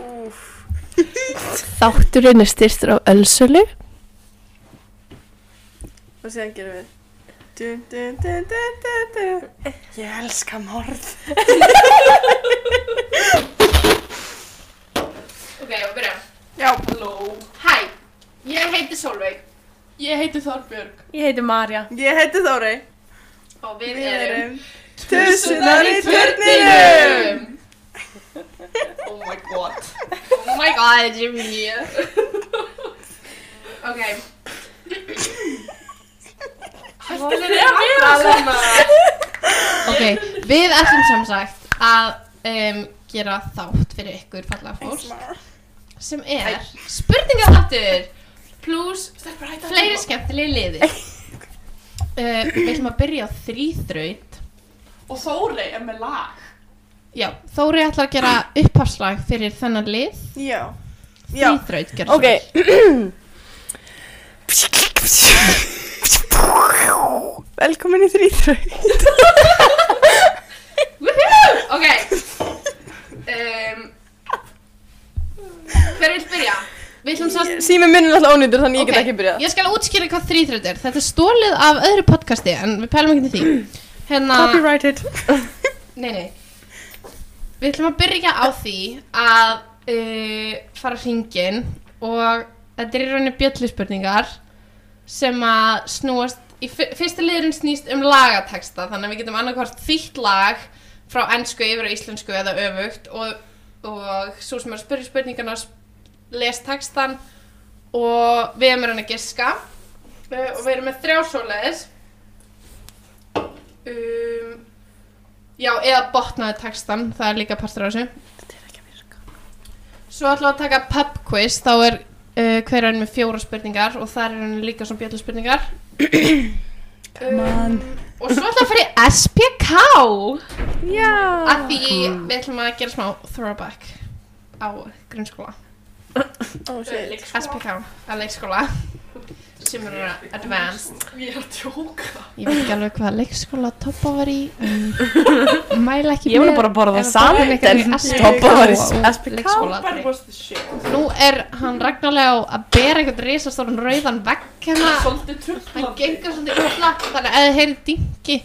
Úf, Þátturinn er styrtur af Ölsölu. og síðan gerum við dun, dun, dun, dun, dun, dun. Ég elska morð Ok, ég byrja. Já, Halló. Hæ, ég heiti Solveig. Ég heiti Þorbjörg. Ég heiti Marja. ég heiti Þórey Og við, Við erum Tussunar Tussunar í turninum oh my god. Oh my god, Jimmy. ok. Hættu þér að vera svona. Ok, við ætlum sem sagt að um, gera þátt fyrir ykkur fallega fólk sem er spurningaráttur pluss fleiri skemmtilegi liðir uh, Við ætlum að byrja á þrýþraut Og Þórey er með lag. Já, Þóri ætlar að gera upphafslag fyrir þennan lið Já, já, Þrýþraut gerðu svo vel. velkomin í þrýþröð Woohoo! Ok um, Hver vil byrja? Við ætlum sem sagt Sími minn er alltaf ónýtur þannig ég get Ok, ekki byrjað Ég skal útskýra hvað þrýþraut er Þetta er stólið af öðru podcasti en við pælum ekki til því Hérna Copyrighted. Nei, nei. Við ætlum að byrja á því að uh, fara hringin og þetta er í rauninni bjölluspurningar sem að snúast, í fyr- fyrsta liðurinn snýst um lagateksta þannig að við getum annarkvart þýtt lag frá ennsku yfir á íslensku eða öfugt og, og svo sem er að spyrja spurningana les tekstan og við erum í rauninni að giska uh, og við erum með þrjá svoleiðis um, Já, eða botnaði textan, það er líka partur á þessu. Svo ætlum við að taka pub quiz, þá er uh, hver enn með fjóra spurningar og það er enn líka svona bjöllu spurningar. Come on. og svo ætlum við að fara í SPK, Já. af því við ætlum að gera smá throwback á grunnskóla. Ó, Oh, shit. SPK, að leikskóla, sem eru advanced. Ég er að tjóka Ég veit ekki alveg hvað leikskóla toppa var í, en mæla ekki Ég var nú bara að borða það saman. Toppa var í SPK. Everybody was the shit Nú er hann ragnarlega á að bera einhvern risastóran rauðan vegg hérna Svolítið Hann tröflandi gengur svolítið illa Þannig að ef þið heyri dingi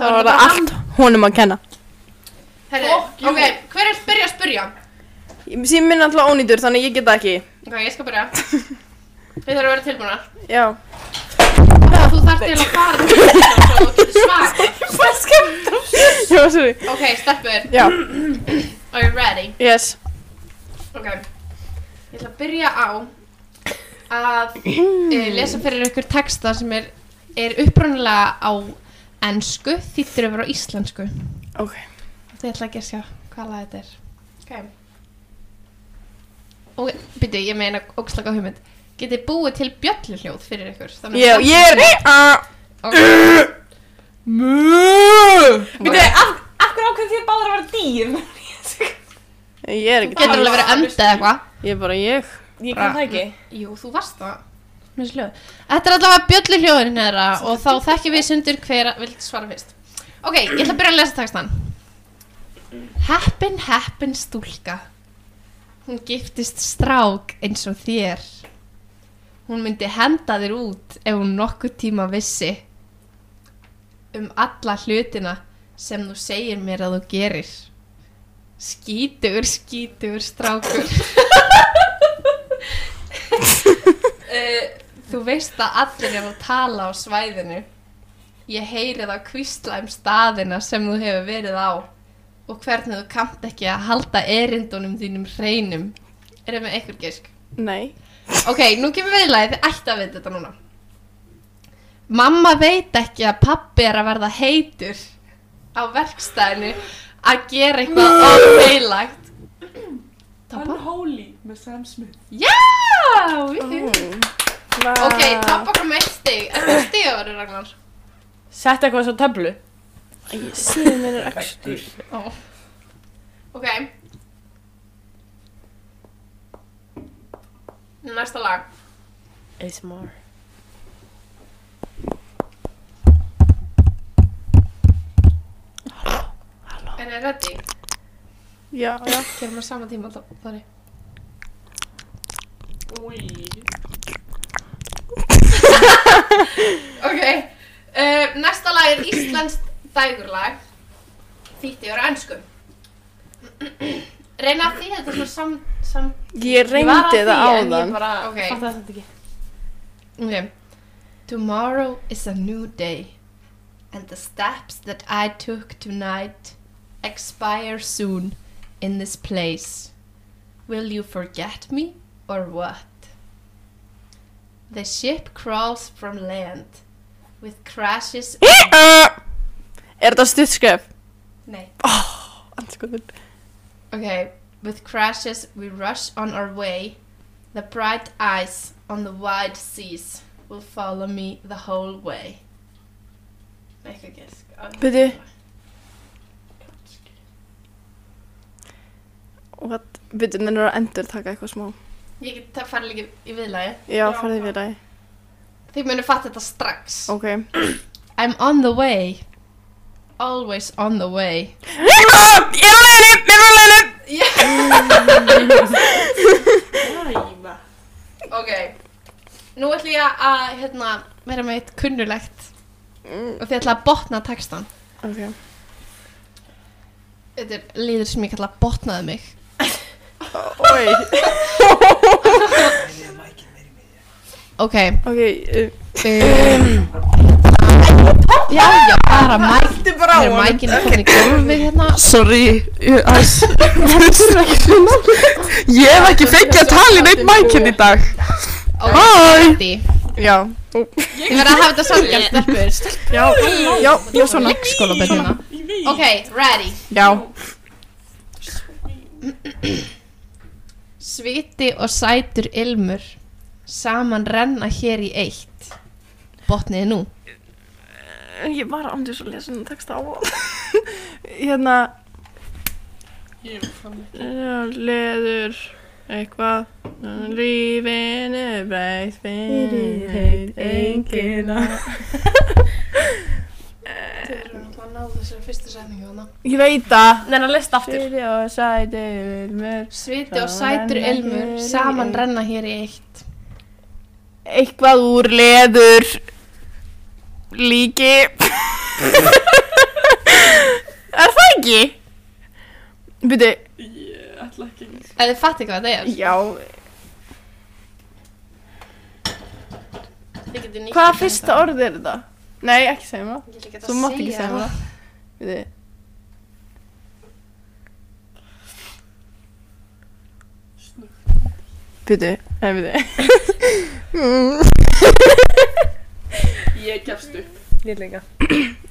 Það var það allt honum að kenna. Herri, Fuck you. ok, hver er byrja að spyrja? Sími minn er alltaf ónýtur þannig ég get það ekki Ok, ég skal byrja Við þurfum að vera tilbúinar Já Og Þú þarft til að fara til þess að þú getur svag Já, sorry Ok, steppur, Já, are you ready? yes Ok, ég ætla að byrja á að Mm. uh, lesa fyrir ykkur texta sem er, er upprunalega á ennsku, þýttur yfir á íslensku Ok Þið ætla að gíska hvað lag þetta er. Ok. Og byrju, ég meina ógslaka hugmynd. Getið búið til bjölluhljóð fyrir ykkur. Þannig Já, ég er uh, Býtu, af, af hverju ákveðum því að báður að vera dýr? Ég er ekki Getur alveg verið öndið eða eitthvað. Ég er bara ég Ég kann það ekki. Jú, þú varst það. Mér finnst hljóð. Þetta er allavega bjölluhljóðurinn þeirra og þá þekkjum við sundur hver að vilt svara fyrst. Ok, ég ætla að byrja að lesa textan. Heppin, heppin stúlka. Hún giftist strák eins og þér. Hún myndi henda þér út ef hún nokkuð tíma vissi um alla hlutina sem þú segir mér að þú gerir. Skítugur, skítugur strákur. Eh, Þú veist að allir eru að tala á svæðinu. Ég heyri það kvísla um staðina sem þú hefur verið á og hvernig þú kamt ekki að halda erindunum þínum hreinum. Er það með einhver gisk? Nei Ok, nú kemur viðlæðið, þið ætti að veit þetta núna. Mamma veit ekki að pappi er að verða heitur á verkstæðinu að gera eitthvað ofeilagt. Tappa? Unholy með Sam Smith Já! Við Ok, tappa kom eitt stig. Er það stigaveri, Ragnar? Sett eitthvað svo töflu. Sími minn er ekki Ok. Næsta lag. ASMR. Er það ready? Já, já Gerum við sama tíma þá, Þorri. Új. Ok, uh, næsta lag er Íslands dægurlag Þýtti yfir á ennsku Reyna að því þetta er svona sam, sam Ég reyndi það áðan. bara Ok. fattaði þetta ekki okay. Tomorrow is a new day And the steps that I took tonight Expire soon in this place Will you forget me or what? The ship crawls from land With crashes Uh, Er þetta stuttskef? Nei Andskotin. Okay, with crashes we rush on our way. The bright eyes on the wide seas will follow me the whole way. Make a guess. Byrju. What? Við erum að endur taka eitthvað smá. Ég get það farið líka í viðlagi. Já, farðið við það. Þið munu fatta þetta strax. Ok. I'm on the way. Always on the way. Ah, Ég er á leiðinni! Ég er á leiðinni! Næma. Ok. Nú ætlum ég að hérna, vera með eitt kunnulegt Mm, og þið ætla að botna textan. Ok. Þetta er liður sem ég kalla botnaði mig. Oi. Ok. Ok, eh, uh, um, já, já, bara mæk Þetta er bara Þegar mækinn er komin í gólfið hérna Sorry, ég æs- Ég hef ekki fengið að tala í neitt mækinn í dag Hæ Því. Já, Ég verði að hafa þetta samgjald stelpur já, já, já, svona Leikskólaböndina Ok, ready Já, Sviti og sætur ilmur Saman renna hér í eitt Botniði nú ég var ándur svo að lesa þennan texta á Hérna Ég er fram. uh, Leður eitthvað uh, Lífinu breytt fyrir engina Þú erum að ná þessari fyrstu setningu hana Ég veit það Neina, list aftur Fyrir og sætir mér Sviti og sætur ilmur Saman renna hér í eitt Eitthvað úr leður Líki Er það ekki? Byrju, Ég ætla ekki að Ef þið fatti hvað þetta er já þið getið nýtt Hvaða þetta. fyrsta orð er þetta? Nei, ekki segja mér það Ég ætla ekki að Þú mátt ekki segja segja mér það Byrju snurra. Byrju, nei byrju Ég gefst upp. Ég líka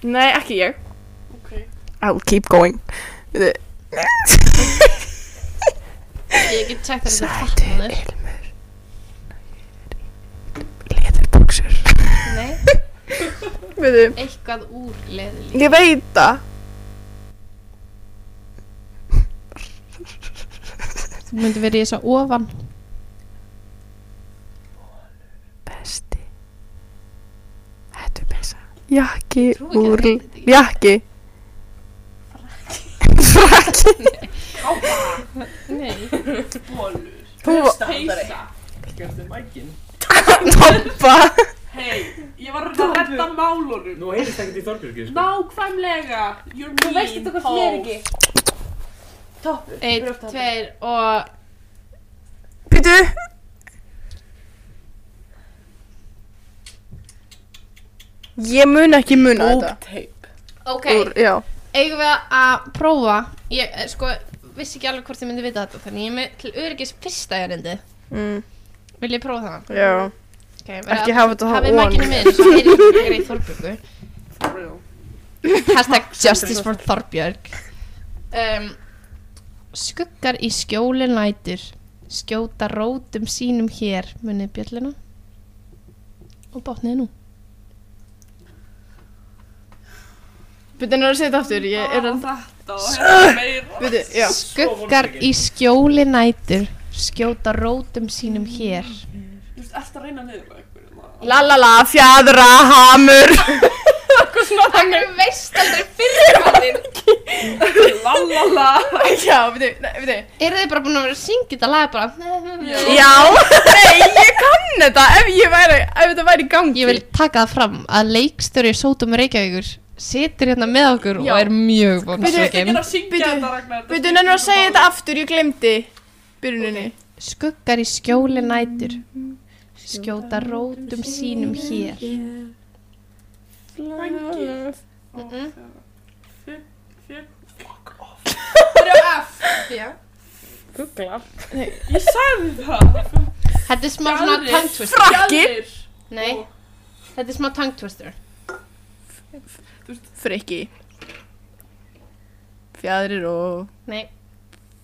Nei, ekki ég Ok. I'll keep going Bíddu, Ég get sagt að þetta fattum þér Leðurbuxur Nei, Byrju, eitthvað úr leðilík ég veit það Þú myndi verið í þess að ofan Besti Hættu pessa Jakki Trúi ekki að úr þetta heiti ekki. Jakki Frakki Nei Bólur. Þú Peysa. Gerðu mækin Toppa Hei, ég var að redda málunum. Nú heyrist ekkert í Þorbjörgu sko. Nákvæmlega. You're mean. Þú veist þetta hvað sem er ekki Topp Eitt, tveir og Byrju Ég mun ekki muna þetta Bókteip Ok, Úr, já eigum við að prófa Ég eh, sko, vissi ekki alveg hvort þið myndi vita þetta Þannig ég er með til öryggis fyrsta erindi mm, Vil ég prófa það? Já Okay, Ekki hafa þetta Hafið það mækinu minn, svo er ég ekki greið Þorbjörgu For real. Hashtag justice for Þorbjörg um, Skuggar í skjóli nætur Skjóta rótum sínum hér Munið bjöllina Og botnið nú Byrju, nú er að segja þetta aftur Ég er Bara að þetta og hérna meira. Byrju, já Skuggar í skjóli nætur Skjóta rótum sínum hér Þú veist, ertu að reyna niður að ykkur. La la la, fjadra, hamur Akkur veist aldrei fyrir hvað þinn La la la Já, við þau, við þau Eru þið bara búin að vera að syngja þetta lag bara? Já Nei, ég kann þetta ef ég væri, ef þetta væri í gangi Ég vil taka það fram að leikstjóri Sótum Reykjavíkur situr hérna með okkur Já. og er mjög Þú ert ekki vonsvikinn. að syngja Bíddu, þetta Ragnar Við þau nennur að segja þetta aftur, ég glemdi Byrjuninni Skuggar í skjóli nætur skjóta rótum sínum hér. Mm-mm. uh, Byrja á F Já Fuglar Ég sagði það Þetta er smá svona Fjaðrir. tongue twister. Fjaðrir. Nei, þetta er smá tongue twister. Frikki Fjadrir og Nei,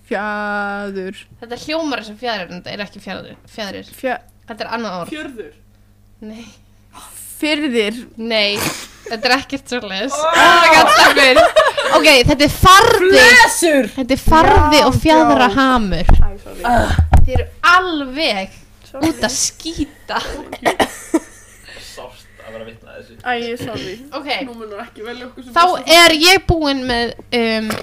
Fjadur þetta hljómar sem fjæðrir en þetta er ekki fjæðrir. fjæðrir. Fja, Þetta er annað orð. Fjörður Nei, Fyrðir nei, þetta er ekkert svolítið. Gallafyr. Ok, þetta er farði. Blessur Þetta er farði og fjæðra hamur. Þið eru alveg út að skýta. Sárt að vera að vitna að þessu Æ, sorry Ok, Nú munur ekki velja okkur sem þá er ég búinn með um, Ég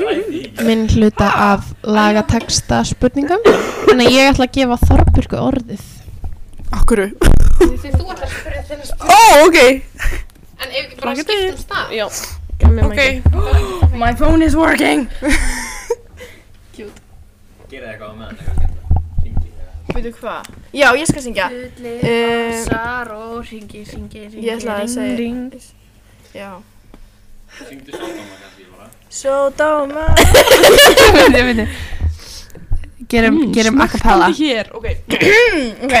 ræði því minn hluta af lagateksta spurningum. Þannig að ég ætla að gefa Þorbjörgu orðið. Akkur Því þú ætla að spyrja þennan spurning. Ó, ok En ef ekki bara skiptum stað. Já Ok My phone is working Gerið eitthvað á meðan eitthvað skemmtilegt. Hringið eða- Veitu hvað? Já, ég skal syngja Eh, Sar og ringi, ringi, ringi Ég ætlaði að segja Já Syngdu sódóma kannski bara So dóma Myndi, myndi. Gerum, Hmm, gerum a cappella. Hér, ok Ok,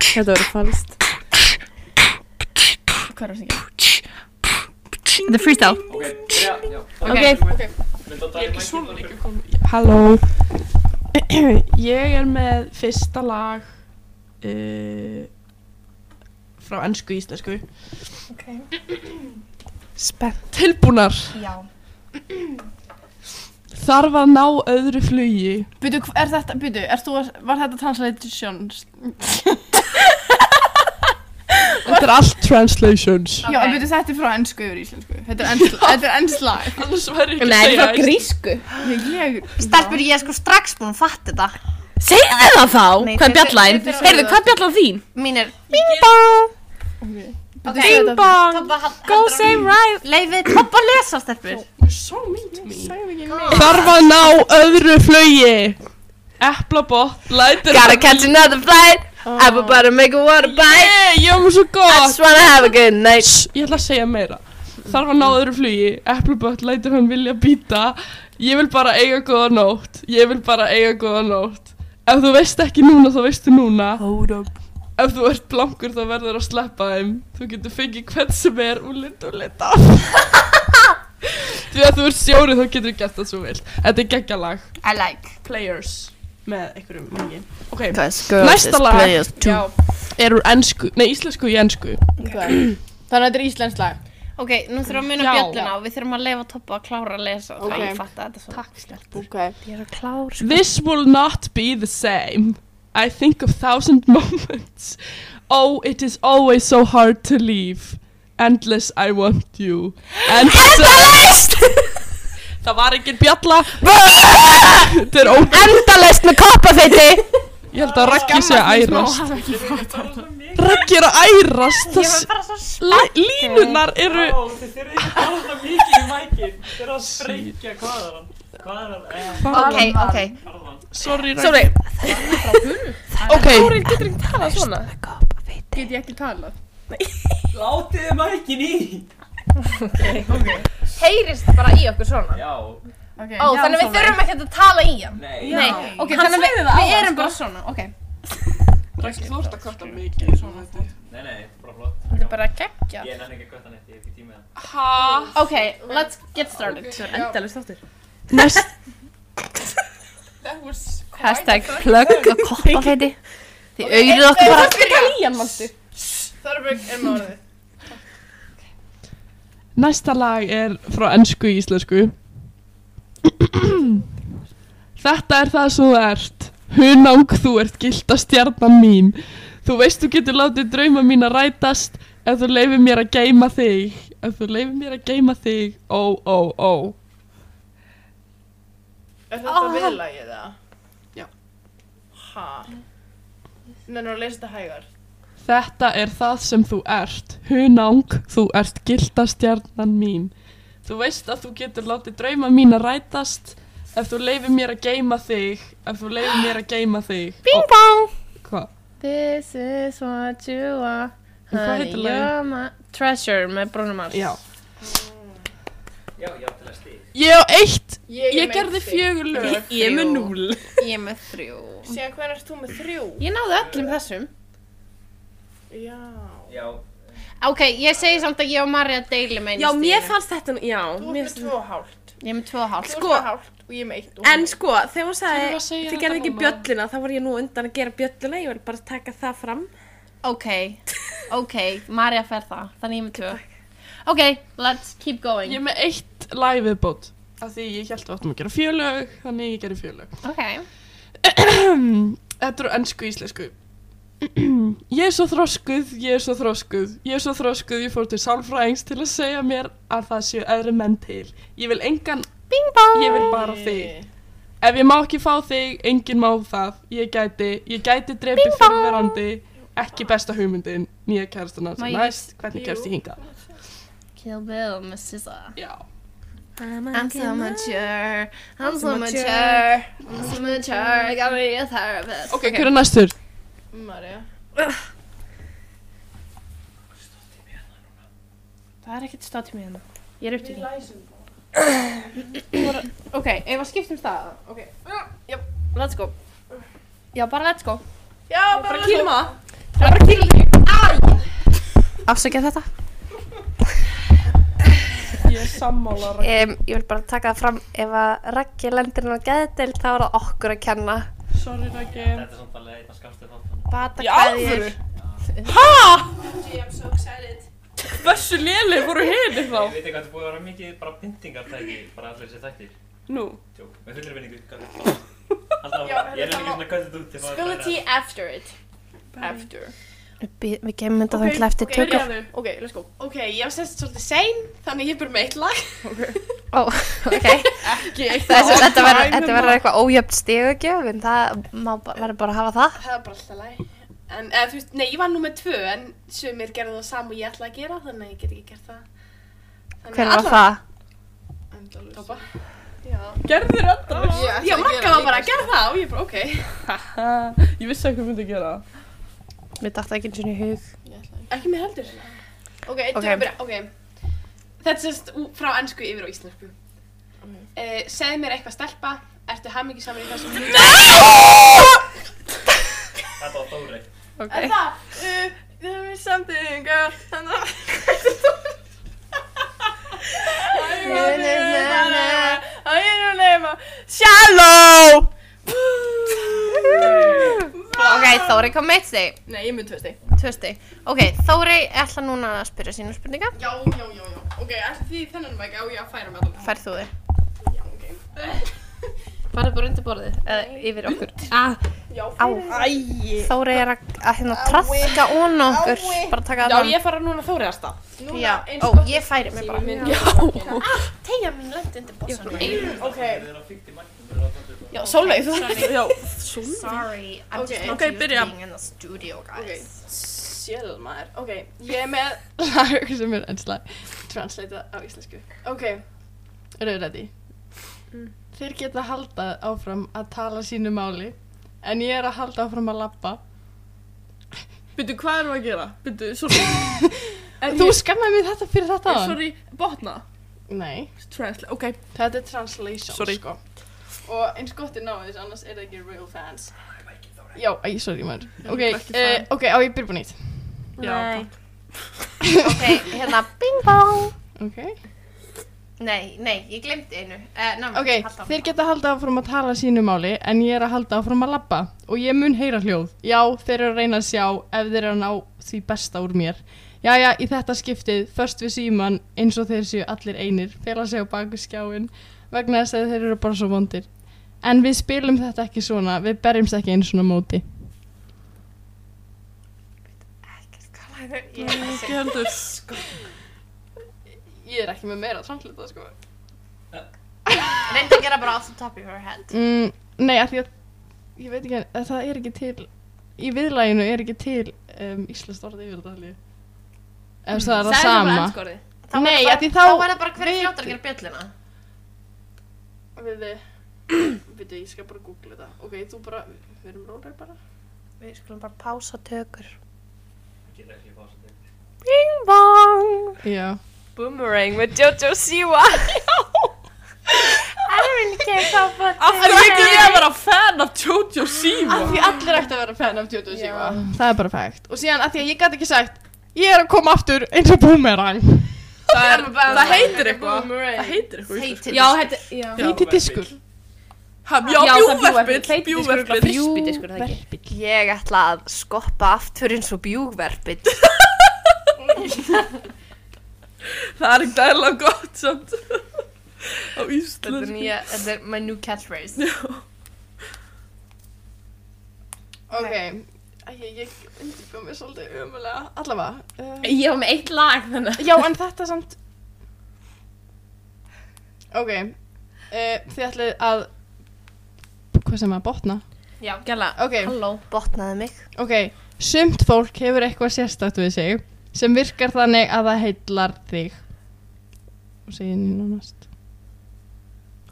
Þetta verður falskt hvað er að syngja? Þetta er freestyle. Ok, byrja, já Ok. Myndu að tala í mækinn Svona og líka líka kom Halló Ég er með fyrsta lag uh, frá ennsku í íslensku Spennt Tilbúnar Já. Þarf að ná öðru flugi Byrju, hv- er þetta, byrju, er þú, að- var þetta translations? Þetta er allt translations Já, byrju, þetta er frá ennsku yfir íslensku Þetta er ens- þetta er ennslag Annars verður ekki Nei, það að er grísku. Ég, Stelpur, ég er sko strax búin að fatta þetta. Segðu þið það þá, Nei, hvað er þið- bjallæn? þið þurfa að- Heyrðu, hvað er bjallan þín? Mín er byrju, segðu þetta Bang, Go same right Leifið topp að lesa stelpur You're so mean to me þarf að ná Öðru flugi Eplabott Lætur Gotta catch another flight Ah, Oh. Everybody make a water bite Yeah, ég var svo I gott just wanna have a good night Ég ætla að segja meira Þarf að ná Mm. öðru flugi Eplabott lætur hann vilja býta Ég vil bara eiga góða nótt Ég vil bara eiga góða nótt Ef þú veist ekki núna þá veistu núna Hold up Ef þú ert blankur þá verður að sleppa þeim Þú getur fengið hvern sem er og lit og lit af Því að þú ert sjóri þá getur þú gert það svo vel Þetta er geggjalag I like Players með einhverjum manni Ok, Let's Næsta lag. Já. er úr ennsku, nei íslensku í ennsku Þannig að þetta er íslensk lag Ok, nú þurfum við að Já. muna bjölluna og við þurfum að leifa toppa að klára að lesa. Ok. Okay. Ég fatta þetta svo. Takk, stelpur. Ok Ég er að klára. This will not be the same I think of thousand moments Oh, it is always so hard to leave Endless I want you Endless Það var engin bjalla Þetta er ógæð Endalest með koppafeiti Ég held að Raggi sé að ærast Raggi er að ærast Ég Þess var bara svo s- Læ- línunar eru þið þurfið ekki að tala það mikið í mækinn Þið eru að sprengja hvaðan Hvaðan er eh, Ok, ok hvaðan Sorry Raggi Sorry Ok, getur ekki talað svona Get ég ekki talað? Látið þið mækinn í Heyrist bara í okkur svona Já, Ok Ó, þannig að við þurfum ekkert að tala í hann nei Nei, ok, þannig að við, við sko. erum bara svona Ok, Raggi þú ert að kvarta mikið svona þetta Nei, nei, bara flott þetta er bara geggja Ég nenni ekki að kvötta neitt, ég hef ekki tíma í það Ha Ok, let's get started Næst Hashtag plug og koppafeiti Þið auðvitað okkur bara Þorbjörg er með orðið Næsta lag er frá ennsku í íslensku Þetta er það sem þú ert Hunang þú ert gilda stjarnan mín Þú veist þú getur látið drauma mín að rætast Ef þú leifir mér að geyma þig Ef þú leifir mér að geyma þig Ó, ó, ó Er þetta oh. viðlagið það? Já. Ha? Nennar að lesa þetta hægar. Þetta er það sem þú ert, hunang, þú ert gildastjarnan mín. Þú veist að þú getur látið drauma mín að rætast ef þú leifir mér að geyma þig, ef þú leifir mér að geyma þig. Bing bong! Hvað? This is what you are En hvað honey, heitir lagið? you're my- Treasure með Bruno Mars Já. Já, ég átti að stíð. Ég á eitt, Ég, ég gerði fjögur lög. Ég er með núl. Ég er með þrjú Síðan hvernig ert þú með þrjú? Ég náði öllum þessum. Já. Já, Ok, ég segi samt að ég og Marja deilum einu Já, mér stíðinu. fannst þetta nú, já Þú ert mér með finnst- tvö og hálft. Ég er með tvö og hálf. Þú Sko- ert með hálft og ég er með eitt. og hún En er- sko, þegar hún Þurfum við sagði að segja þið þetta gerði ekki núna?" bjölluna, þá var ég nú undan að gera bjölluna, ég vil bara taka það fram. Ok, ok, Marja fer það. Þannig ég er með tvö. Ok, let's keep going. Ég er með eitt lag viðbót. Af því ég held að við áttum að gera fjölög, þannig ég gerði fjölög. Ok. Mm. Þetta eru ennsku íslensku Ég er svo þroskuð, ég er svo þroskuð Ég er svo þroskuð, ég fór til sálfræðings til að segja mér að það séu öðru menn til Ég vil engan Bing bong Ég vil bara þig Ef ég má ekki fá þig, enginn má það Ég gæti, ég gæti drepi fyrirverandi Ekki besta hugmyndin Nýja kærastana Má sem ég- næst Hvernig kærast ég hingað? Kill Bill með SZA. Já I'm so mature, I'm so mature, mature. I'm so mature, I gotta be a therapist. Ok, hver er næstur? María. Það er ekkert státt í mig hérna. Ég er upp til því. Við læsum það. ok, ef að skiptum það, ok. Ah, Jöp, let's go. Já, bara let's go. Já, bara kýlum á. Bara kýlum því. Afsækja þetta. Ég er sammála Um, ég vil bara taka það fram, ef að Raggi lendir hann á geðdel, þá er það okkur að kenna. Sorry, Raggi þetta er samt alveg einna skamstu þáttan. Bata Í alvöru? Ha? Hversu léli voru hini þá? Ég veit ekki hvað þetta búið að vera mikið bara pyntingartæki, bara allir þessi þættir. Nú, Tjók, með fullri vinningu. Alltaf, ég er líka svona hvað þetta út til maður. Spill the tea after it. After. Við gemum þetta okay, Ok, þannig eftir tökum. byrjaðu. Ok, let's go. Ok, ég var sérst svolítið sein, þannig ég byrjum með eitt lag. Ó, ok. Ekki eitt Þessu, þetta verður- þetta hérna. verður eitthvað ójöfn stigugjöf, en það má bara- verður bara að hafa það. Það var bara alltaf læg. En, eða, þú veist, nei, ég var nú með tvö, en sumir gerðu það saman og ég ætla að gera, þannig að ég get ekki gert það. Þannig Hvernig var það? Endalaust. Toppa. Já. gerðir alltaf Já, já Magga var bara að gera sko. það og ég bara, ok. Ég vissi ekki hvað myndi að gera Mér datt það ekki eins og í hug. Ekki mér heldur. Ok, Ok. okay. Byrja, ok. Þetta er sérst ú- frá ennsku yfir á íslensku. Okay. segð mér eitthvað stelpa, ertu hammingi saman í þessum hlut? Þetta var Þórey. Er það? Uh, there is something girl and I- I want you, na, na, I want your name, uh, Shallow Ok, Þóri kom meitt þig. Nei, ég mun tvö steg Tvösti. Ok, Þóri ætla núna að spyrja sína spurninga. Já, já, já, já Ok, ætli því þennan mæk á ég að færa með það Færð þú þig. Já, ok Farðu bara undir borðið, eða yfir okkur. Já, Á, fyrir Þóri er að, að hérna trafka ón okkur. Bara taka það fram. ég fara núna þóriðasta núna Já, eins ó, gott ég færi mig bara. minn. Já. Tegja mín lent undir bossan Ok, Þeir eru að fylgja mættum, þeir eru að fylgja mættum. Já, Solveig, þú þarf Já, Sorry, I'm Ok, just not ok, used byrja. to being in the studio, guys. ok Sjöl maður Ok, ég er með lag sem er enslæg Translate það á íslensku Ok, Eru þið ready? Mm. Þeir geta halda áfram að tala sínu máli En ég er að halda áfram að labba Byrju, hvað erum við að gera? Byrju, sorry, Þú skammaði mig þetta fyrir þetta áðan. sorry, botna. Nei, Translate, ok. þetta er translation Sorry. sko og eins gott er náðis, annars er það ekki real fans Já, æ, sorry maður Ok, vil ekki uh, ok, á ég byrja búin nýtt Já, takk. Ok, hérna, bing bong. Ok Nei, nei, ég glemdi einu. Uh, ná, Ok, haltu áfram. þeir geta halda áfram að tala sínu máli en ég er að halda áfram að labba og ég mun heyra hljóð. Já, þeir eru að reyna að sjá ef þeir eru að ná því besta úr mér. Jæja, í þetta skiptið, först við síman eins og þeir séu allir einir, fela sig á baku skjáin vegna þess að þeir eru bara svo vondir. En við spilum þetta ekki svona, við berjumst ekki einu svona móti. Ég- Ekki heldur. Ég er ekki með meira translita, sko. Reynda að gera bara off the top of your head. Mm, nei, af því að ég veit ekki, að það er ekki til í viðlæginu er ekki til um, íslenskt orð yfir þetta held ég ef mm. það er Segðu það bara sama sko. ennskorði. Þá var Nei, það bara- af því þá- Þá er það bara hverju fljótar að gera bjöllina. Við þið, við ég skal bara googla þetta. Ok, þú bara, við erum rólega bara. Við skulum bara pása tökur. Geta ekki fá þess að tegna. Bing bong! Já, Boomerang með Jojo Siwa Af hverju ekki ég að vera fan af Jojo Siwa? Af því allir ætti að vera fan af Jojo Siwa. það er bara fægt og síðan af því að ég gæti ekki sagt ég er að koma aftur eins og boomerang Það er- það heitir eitthvað. Það heitir eitthvað. í íslensku. Já, þetta Já, heiti diskur Ha, Já, bjúverpill. Bjúverpill. Bjúverpill það ekki Ég ætla að skoppa aftur eins og bjúgverpin. Það er ekki aðeins gott samt. Á Þetta er íslensku. nýja, þetta er my new catchphrase. Ok, Æ, ég, ég undirbjóð mér svolítið umulega. Allavega. eh, Uh, Ég var með eitt lag þannig já, en þetta samt. Ok, uh, Eh, þið ætlið að, Hvað sem að botna? Gjalla Ah, ok, Halló Botnaði mig. Ok, sumt fólk hefur eitthvað sérstætt við sig sem virkar þannig að það heillar þig og segir nýna næst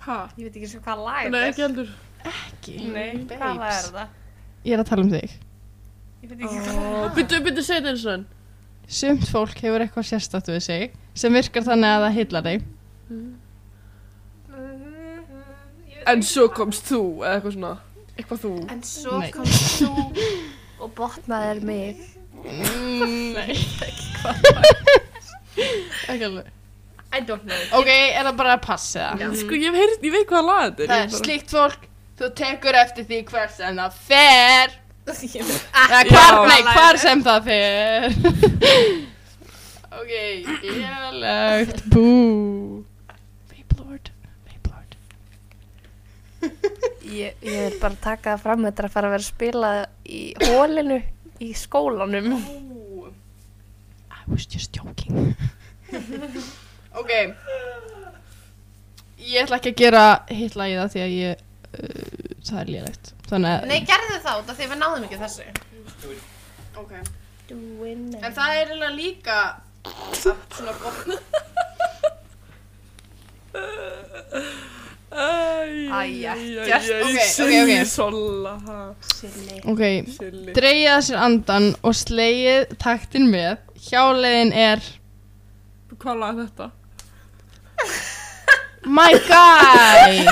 Ha, Ég veit ekki eins og hvað lag nei, ekki heldur. Ekki Nei, hvað lag er það? Ég er að tala um þig Ég veit ekki hvað lag. Byttu, byttu, segja þetta eins og enn. Sumt fólk hefur eitthvað sérstætt við sig sem virkar þannig að það heillar þig En svo komst þú, eða eitthvað svona. Eitthvað þú. En svo Nei. komst þú og botnaðir mig. Nei Ekki alveg I don't know. ok, er það bara að passa það? Sko, ég hef heyrt, ég veit hvað lag þetta er. Það ég er bara- slíkt fólk, þú tekur eftir því hver sem það fer Eða Já. hvar, nei, hvar sem það fer Ok, Lagt bú Vaplord Vaplord Ég, ég vil bara taka það fram þetta er að fara að vera að spila í hólinu í skólanum. ég I was just joking Ok, Ég ætla ekki að gera heilla í það því að ég uh, það er lélegt Þannig að Nei, gerðu þá þetta því við náðum ekki þessu. ok En það er eiginlega líka samt svona gott Æ, Æ, æ, gert. Ok, æ, æ, ok, Silly ok. sola, ha. Ok, Silly. Dreigið að sér andan og slegið taktin með. Hjáleiðin er... Hvað lag er þetta? My guy!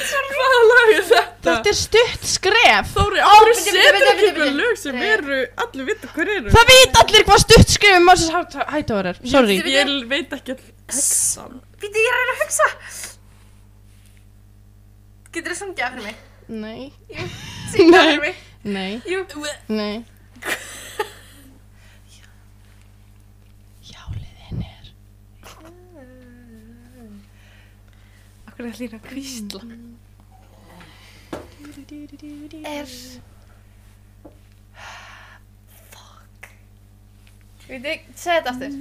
Hvað lag er þetta? Þetta er stutt skref! Þóri, ári bíddu, setur bíddu, ekki bíddu, eitthvað bíddu. lög sem eru, allir vita hver eru. Það veit allir hvað stutt skref er Moses Hightower er. Sorry. Ég veit ekki að texta. Býti, ég er að reyna að hugsa. Getur þú sungið fyrir mig? Nei, Syngja fyrir mig. nei, Jú. nei. Hjáleiðin er... Akkur er lína kvísla. Mm, Er... Fuck. Býti, segð þetta aftur.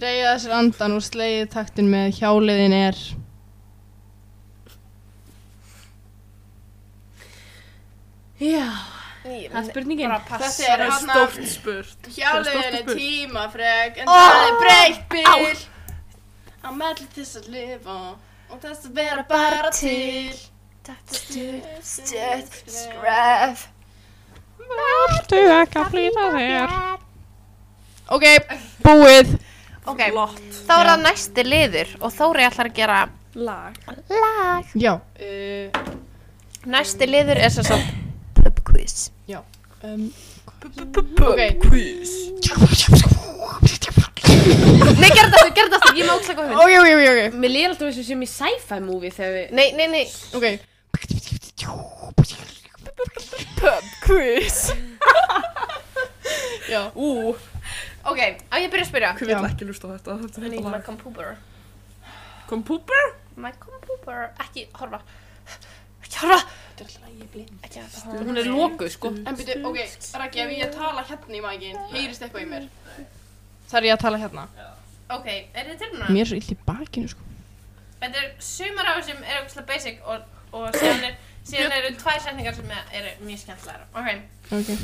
Dreigið að sér andan og slegið taktin með. Hjáleiðin er... Já Það Það er spurningin Þetta er hann að Stórt spurt. hjáleðin Það er er stórt tímafrek En það er breytt bíl Á melli þess að lifa Og þess að vera bara til Stutt skref. Þú ekki að flýta þér. Ok, búið. Ok, þá er það næsti liður og Þóri ætlar að gera Lag. lag. Já. uh, Næsti liður er svo svo pub quiz. Um, Ok, Quiz. Nei, gerð þetta, gerð þetta, ég má óksla góð hund. ok, ok, ok, ok. Mér líður alltaf þessu sem í sci-fi movie þegar við Nei, nei, nei. Ok Ú, Ok, á ég að byrja að spyrja. hver vil ekki lusta á þetta? Þetta er Nei, þetta my lag. compooper. Kom púper? My compooper. Ekki horfa. Ekki horfa. Þetta er alltaf að ég er blind. Ekki horfa. Hún er lokuð sko En byrju, ok, Raki, ef ég að tala hérna í mækin, heyrist eitthvað í mér? Þar ég að tala hérna Ok, er þið tilbúin? Mér er svo illt í bakinu sko Þetta er sumar af þessum eru ógustlega basic og, og síðan, er, síðan eru tvær setningar sem eru mjög skemmtilegar. Ok, Ok.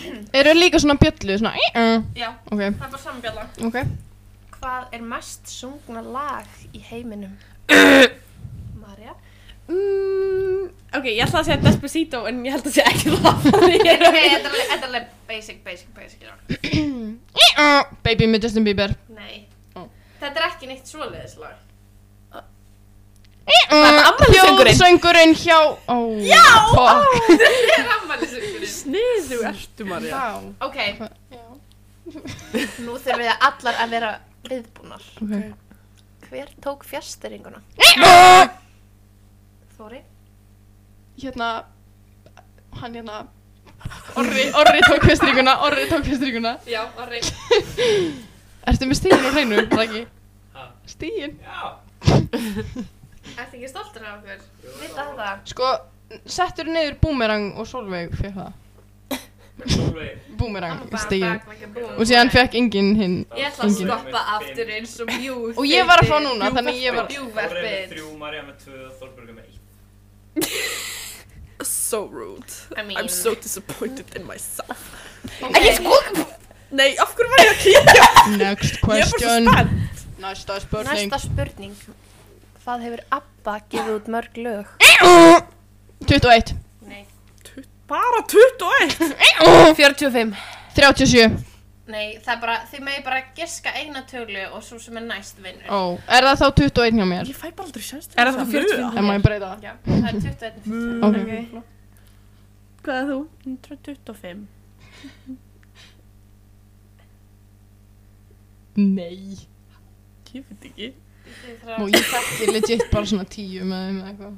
Eru líka svona bjöllu, svona í, uh, já, Ok, það er bara samanbjalla. ok. Hvað er mest sungna lag í heiminum? Marja? Mm, ok, ég ætla að segja Despacito en ég held að segja ekki það Ég er Þetta að- er alveg- þetta er alveg basic, basic, basic. Já. Í, uh, baby með Justin Bieber. Nei. Ó. Þetta er ekki neitt svoleiðis lag. Í, uh, afmælissöngurinn. Þjóðsöngurinn hjá... Oh, Já! Fuck. Þetta er ammælisugurinn. Sniðu ertu Marja Wow. Ok. Nú þurfum við allar að vera viðbúnar. Ok. Hver tók fjärstyringuna? Þóri? Hérna... Hann hérna... Orri, Orri tók festringuna, Orri tók festringuna. Já, Orri. Ertu með stígin á hreinu, Raki? Ha? Stígin? Já. Ertu ekki stoltur af okkur? Vita þetta. Sko, settur niður boomerang og Solveig fyrir það. Solveig. Boomerang, Bara stígin. bak, like a boom. Og síðan fekk enginn hinn. Ég ætla að Engin. stoppa aftur eins og mjúð. Og ég var að fá núna, þannig ég var... Þóri er með Bjúverfið. þrjú, Marja með tvö, Þorberg er með eitt. So rude I mean. I'm so disappointed in myself Ekki sko. Nei, af hverju var ég að kíkja? Ég Next er bara svo question. spennt Næsta spurning. Næsta spurning. Hvað hefur ABBA gefið út mörg lög? 21. Nei, Bara 21 45 37 nei, það er bara, þið megi bara giska eina tölu og svo sem er næst vinnur. Ó, er það þá 21 hjá mér? Ég fæ bara aldrei sjans til Er þess það að 45? muna. En maður breyta það? Já, það er 21. Ok, Hvað er þú? 125 Nei Ég veit ekki Og ég þekki legit bara svona 10 með þeim eða eitthvað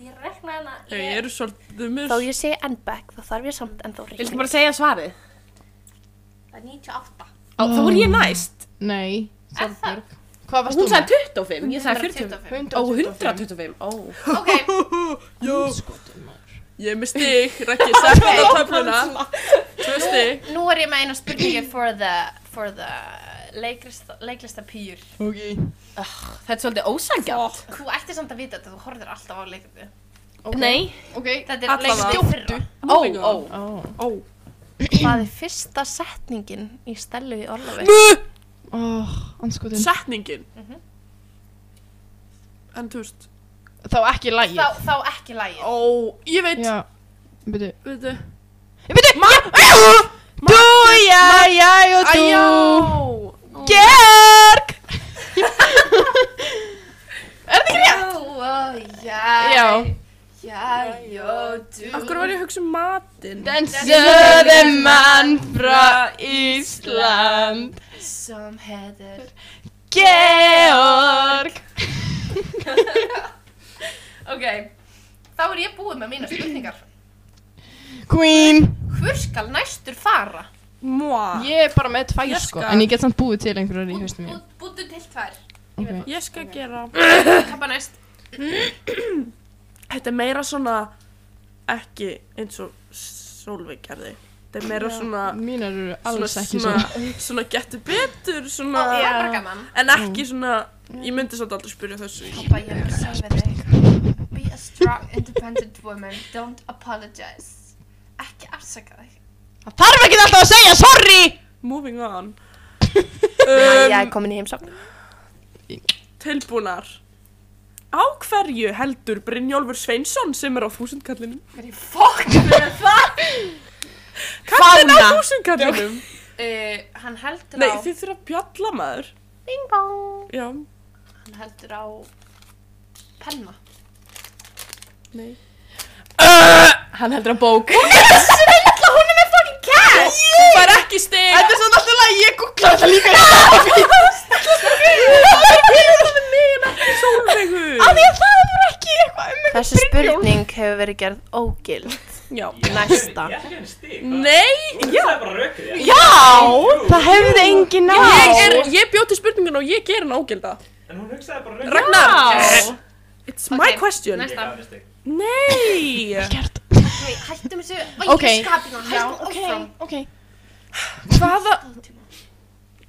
Ég rekna hana, Þau eru svolítið þau Þá mjög ég segi endback, þá þarf ég samt ennþá Viltu ríkni. bara segja svarið? það er 98. Á, þá voru ég næst Nei, Er það? Þorbjörg Hvað varst þú Hún með? sagði 25, ég sagði 40 45. Ó, 125, ó Ok, Jó Ég er með stig, Raggi, sætt hann á töfluna Tvö stig nú er ég með eina spurningu for the, for the leiklista, leiklista pýr. Ok Þetta er svolítið ósangjart Þú ættir samt að vita þetta, þú horfir alltaf á leiklistu. Nei Ok Þetta er leiklistu fyrra. Ó, Oh ó Ó Ó Hvað er fyrsta setningin í stelu í orlofi? Ó, anskotin Setningin Mhm. En þú veist Þá ekki lægið Þá, þá ekki lægið. Ó, ég veit Já Byrju Veitu Byrju Má Dú, já, já, og Æjá dú Gerg Ó, já. Já Já, jó, dú. Akkur var ég að hugsa um matinn Den söðum mann frá Ísland Som heður. Georg Ok, þá er ég búið með mína spurningar. Queen Hver skal næstur fara? Móa Ég er bara með tvær Ég sko skal. En ég get samt búið til einhverjar í haustum mér Bú- Búttu til tvær. okay. Ég skal gera Kappa næst. Þetta er meira svona Ekki eins og Solveig gerði Þetta er meira svona Mínar eru Svona, alls ekki svona, svona svona getur betur svona, Það er bara gaman. en ekki svona ég myndi samt aldrei spyrja þessu Kappa, ég er ekki að segja við þig. Be a strong, independent woman. Don't apologize. Ekki afsaka þig. Það þarf ekki alltaf að segja sorry moving on Ég er um, komin í heimsókn. tilbúnar á hverju heldur Brynjólfur Sveinsson sem er á þúsundkallinum Hverju fokk með það? kallin á þúsundkallinum Uh, hann heldur nei á... þið þurfa að bjalla maður Bing bong. já, Hann heldur á... Penna. nei Hann heldur að bók þú fær ekki stig Þetta er svona alltaf að ég googla þetta líka Sólveigur Það er ekki eitthvað um Þessi spurning hefur verið gerð ógild. já Næsta. Ég ætla ekki henni stig. nei Þú sagði bara rökrið. já Það hefði engin ná ég, er, ég bjóti spurningun og ég ger hann ágilda En hún hugsaði bara rökrið. Ragnar it's my Ok, question næst. Ég gaf henni stig. nei Nei, hættum þessu... Ok. Ok. Skapinu, hættum Ok, áfram. ok Hvaða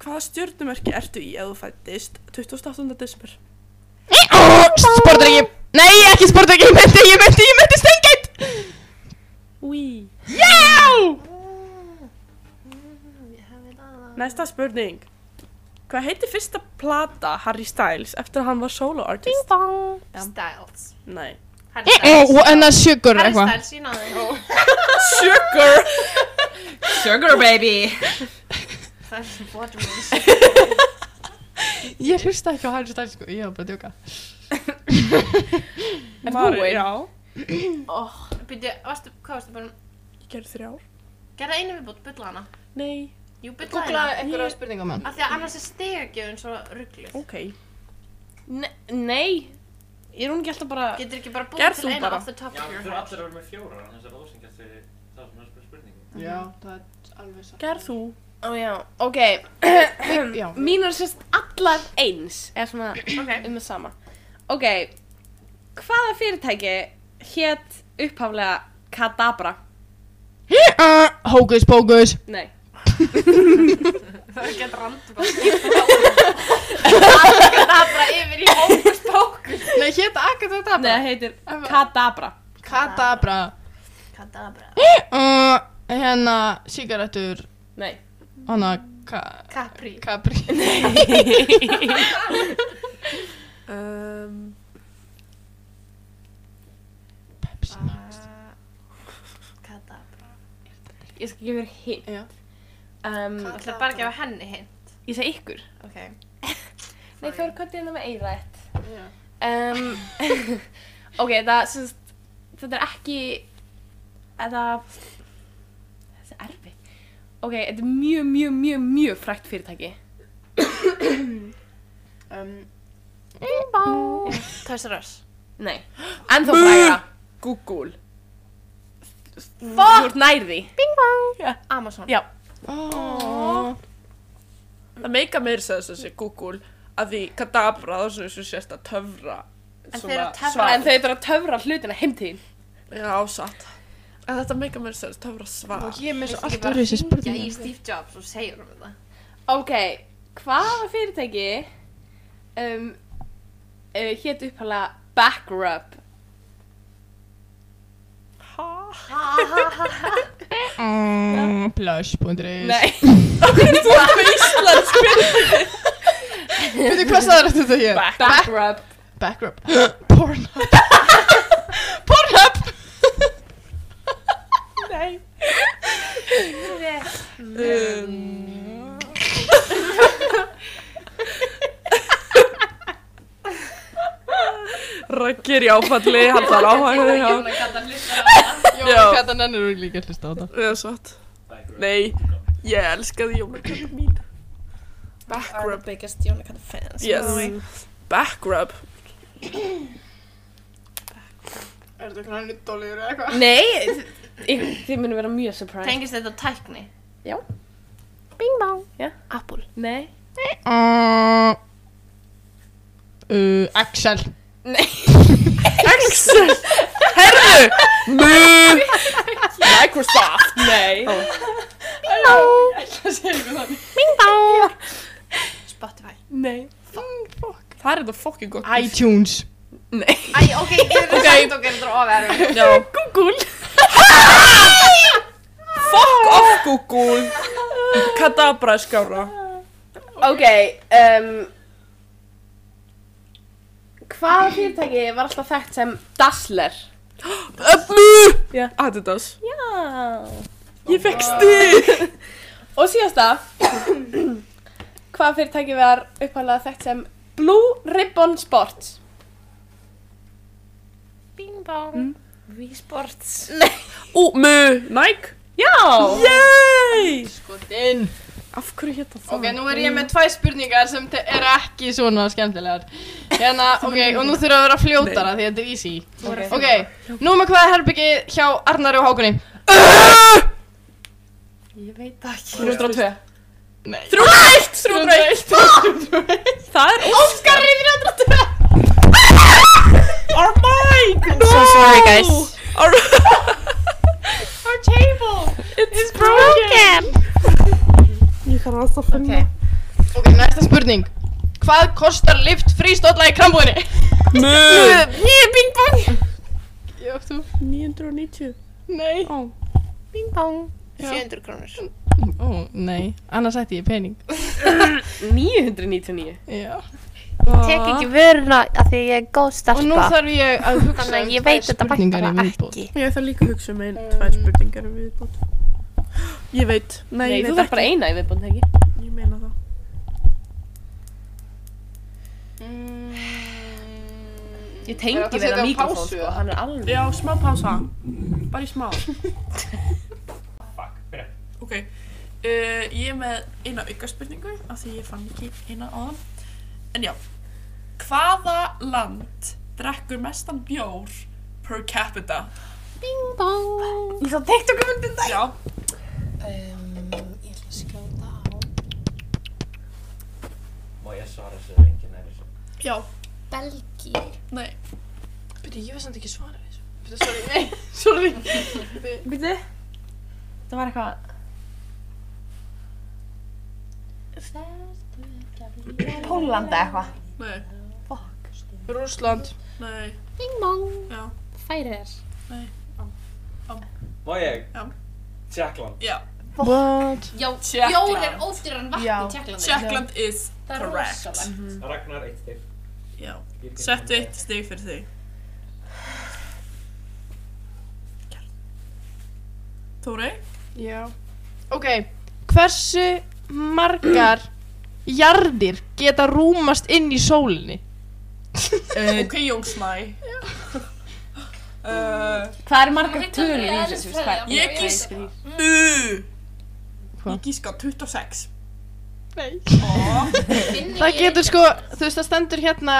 Hvaða stjörnumerki ertu í ef þú fættist 28. desember? Sportreiki Nei, ekki sportreiki, ég myndi, ég myndi, ég myndi steingeit Úi. Já! Næsta spurning. Hvað heitir fyrsta plata Harry Styles eftir að hann var solo artist? Styles Nei. Eh, oh, Harry Styles Og enna sugar eitthvað Styles, ég náði Sugar! Sugar baby Ég hlusta ekki á Harry Styles sko, ég var bara að djóka. Er búin? Já. Býttu, varstu, hvað varstu bara Ég gerði þrjár. Gerða einu viðbútt, bylla hana Nei. Jú, bylla Googla hana einhverja spurninga mann. Af því að annars er stegagjöfun svo ruggluð Ok. Nei, ég er hún ekki alltaf bara... Getur ekki bara Gerð þú búið til eina bara. off the top Já, of þú your eru head allir að vera með fjóra, þannig að Rósin gæti það sem er spurning spurningu. Já, það er alveg satt. Gerð þú? Ó já, ok. Já. Mín er sérst allar eins, eða svona um það sama. Ok, hvaða fyrirtæki hétt upphaflega Kadabra? Hókus pókus. Nei. Það er ekki að randu bara Það er bara yfir í hókus pókus Nei, hétt akkur þetta Nei, það heitir Kadabra. Kadabra. Kadabra Uh, hérna, sigarettur, Nei. hana, ka... Capri Capri. Um, Pepsi Max. Kadabra Ég skal gefa þér hint. Já. Um, Það ætla bara að gefa henni hinn ég segi ykkur. Ok Nei, þú eru kvöldið hérna með eirætt. Um, ok, það, semst, þetta er ekki, eða, þetta er erfið. Ok, þetta er mjög, mjög, mjög, mjög frækt fyrirtæki. um, Toys R Us nei, en þá fræga. Google. Þú ert nærði. Amazon Já. Það meika meira sér þess að segja Google að því kadabra þá er svona eins og sérst að töfra. En svona þeir eru að töfra- svar. En þau eru að töfra hlutina heimtíðin. Já, satt. En þetta meika meira sér þess að töfra svar. Ég er með svo Ekki allt bara öðru þessi hringja í spurning. Steve Jobs og segja um þetta Ok, hvaða fyrirtæki um, uh, hétt upphala Backrub? Ha? Mm, Blush.is. Nei. Veitu hvað sagður þetta hér? Backrub. Backrub Pornhub Pornhub Um, Raggir í áfalli, hann þarf áhægðu hjá. Já. Þetta nennir þú líka að hlusta á þetta Já, satt. Nei, ég elskaði jólaköttu mín. Backrub. biggest Jónakata fans Yes. Backrub. Er þetta eitthvað nýttólið eða eitthvað? Nei, þið, þið munum vera mjög surprised. Tengist þetta tækni Apple. Nei. Uh, uh, Excel Excel. Herru. Mú. Microsoft. Nei. Spotify Nei. Það er þetta fucking gott. iTunes Æ, ok, ég er samt og gerir þetta ofar Já. Google. Fuck off Google. Kadabra er skára. Ok, um, hvaða fyrirtæki var alltaf þekkt sem Dassler? Mú. Já. Adidas. Já. Ég fekk stig. Og síðasta, hvaða fyrirtæki var upphalega þekkt sem Blue Ribbon Sports? Bing bong Ú, mú. Nike. Já. Yay. Skotinn Af hverju hétt það? Ok, nú er ég með tvær spurningar sem te- eru ekki svona skemmtilegar Hérna, ok, og nú þurfa að vera fljótara því þetta er easy Ok, nú með hvað er herbyggi hjá Arnari og Hákunni? Ég veit það ekki. 302. Nei 301. 301. Það er Óskar. Garri 302 Our mic. No. So sorry, guys. Our Ok, næsta spurning Hvað kostar lift frístólla í krambúðinni? Mjög! Nýju bing bong 990 Nei Ó, Bing bong Já. 700 krónur ó, nei, annars ætti ég pening 999 Já tek ekki Hérna, vöruna af því að ég er góð Og nú starpa þarf ég að hugsa þannig að um ég tvær veit þetta bara spurningar í viðbót. ekki Ég ætla líka að hugsa um ein, tvær spurningar um viðbót Ég veit, nei, Nei, ég þú veit þarf ekki bara eina í viðbúin, ekki? Ég meina það Er þetta Ég tengi við að það setja á mikrofón, pásu, sko, eða? hann er alveg... Já, smá pása Bara í smá Fuck, byrja. Ok, uh, ég er með eina auka spurningu af því ég fann ekki eina áðan En já, hvaða land drekkur mestan bjór per capita? Ég sá TikTok um þetta. Já, Má ég svara þessu eða enginn er þessu? já, Belgi nei Byrju, ég veist hann ekki svara þessu Byrju, sorry, nei, sorry Býttu? Það var eitthvað... Pólland eða eitthvað. Nei, Rússland nei, Bing bong Já. Færir Má ég? Já. Tjekkland. já What? Já, Tékkland. bjór er ódýran vatn Já. í Tjekklandi Tjekkland is Það er correct. rosalegt Ragnar eitt til. Já, Ég get settu hann eitt stig fyrir þig Tóri? Já Ok, hversu margar jarðir geta rúmast inn í sólinni? Ok, Jónsmæ uh, Hvað er margar tölur í þessu, sko. þú veist hvað? eðlisfræði. Ég gís Ég Mú Hva? Ég gíska 26 Nei Ó, Finn Það ekki- getur sko, þú veist það stendur hérna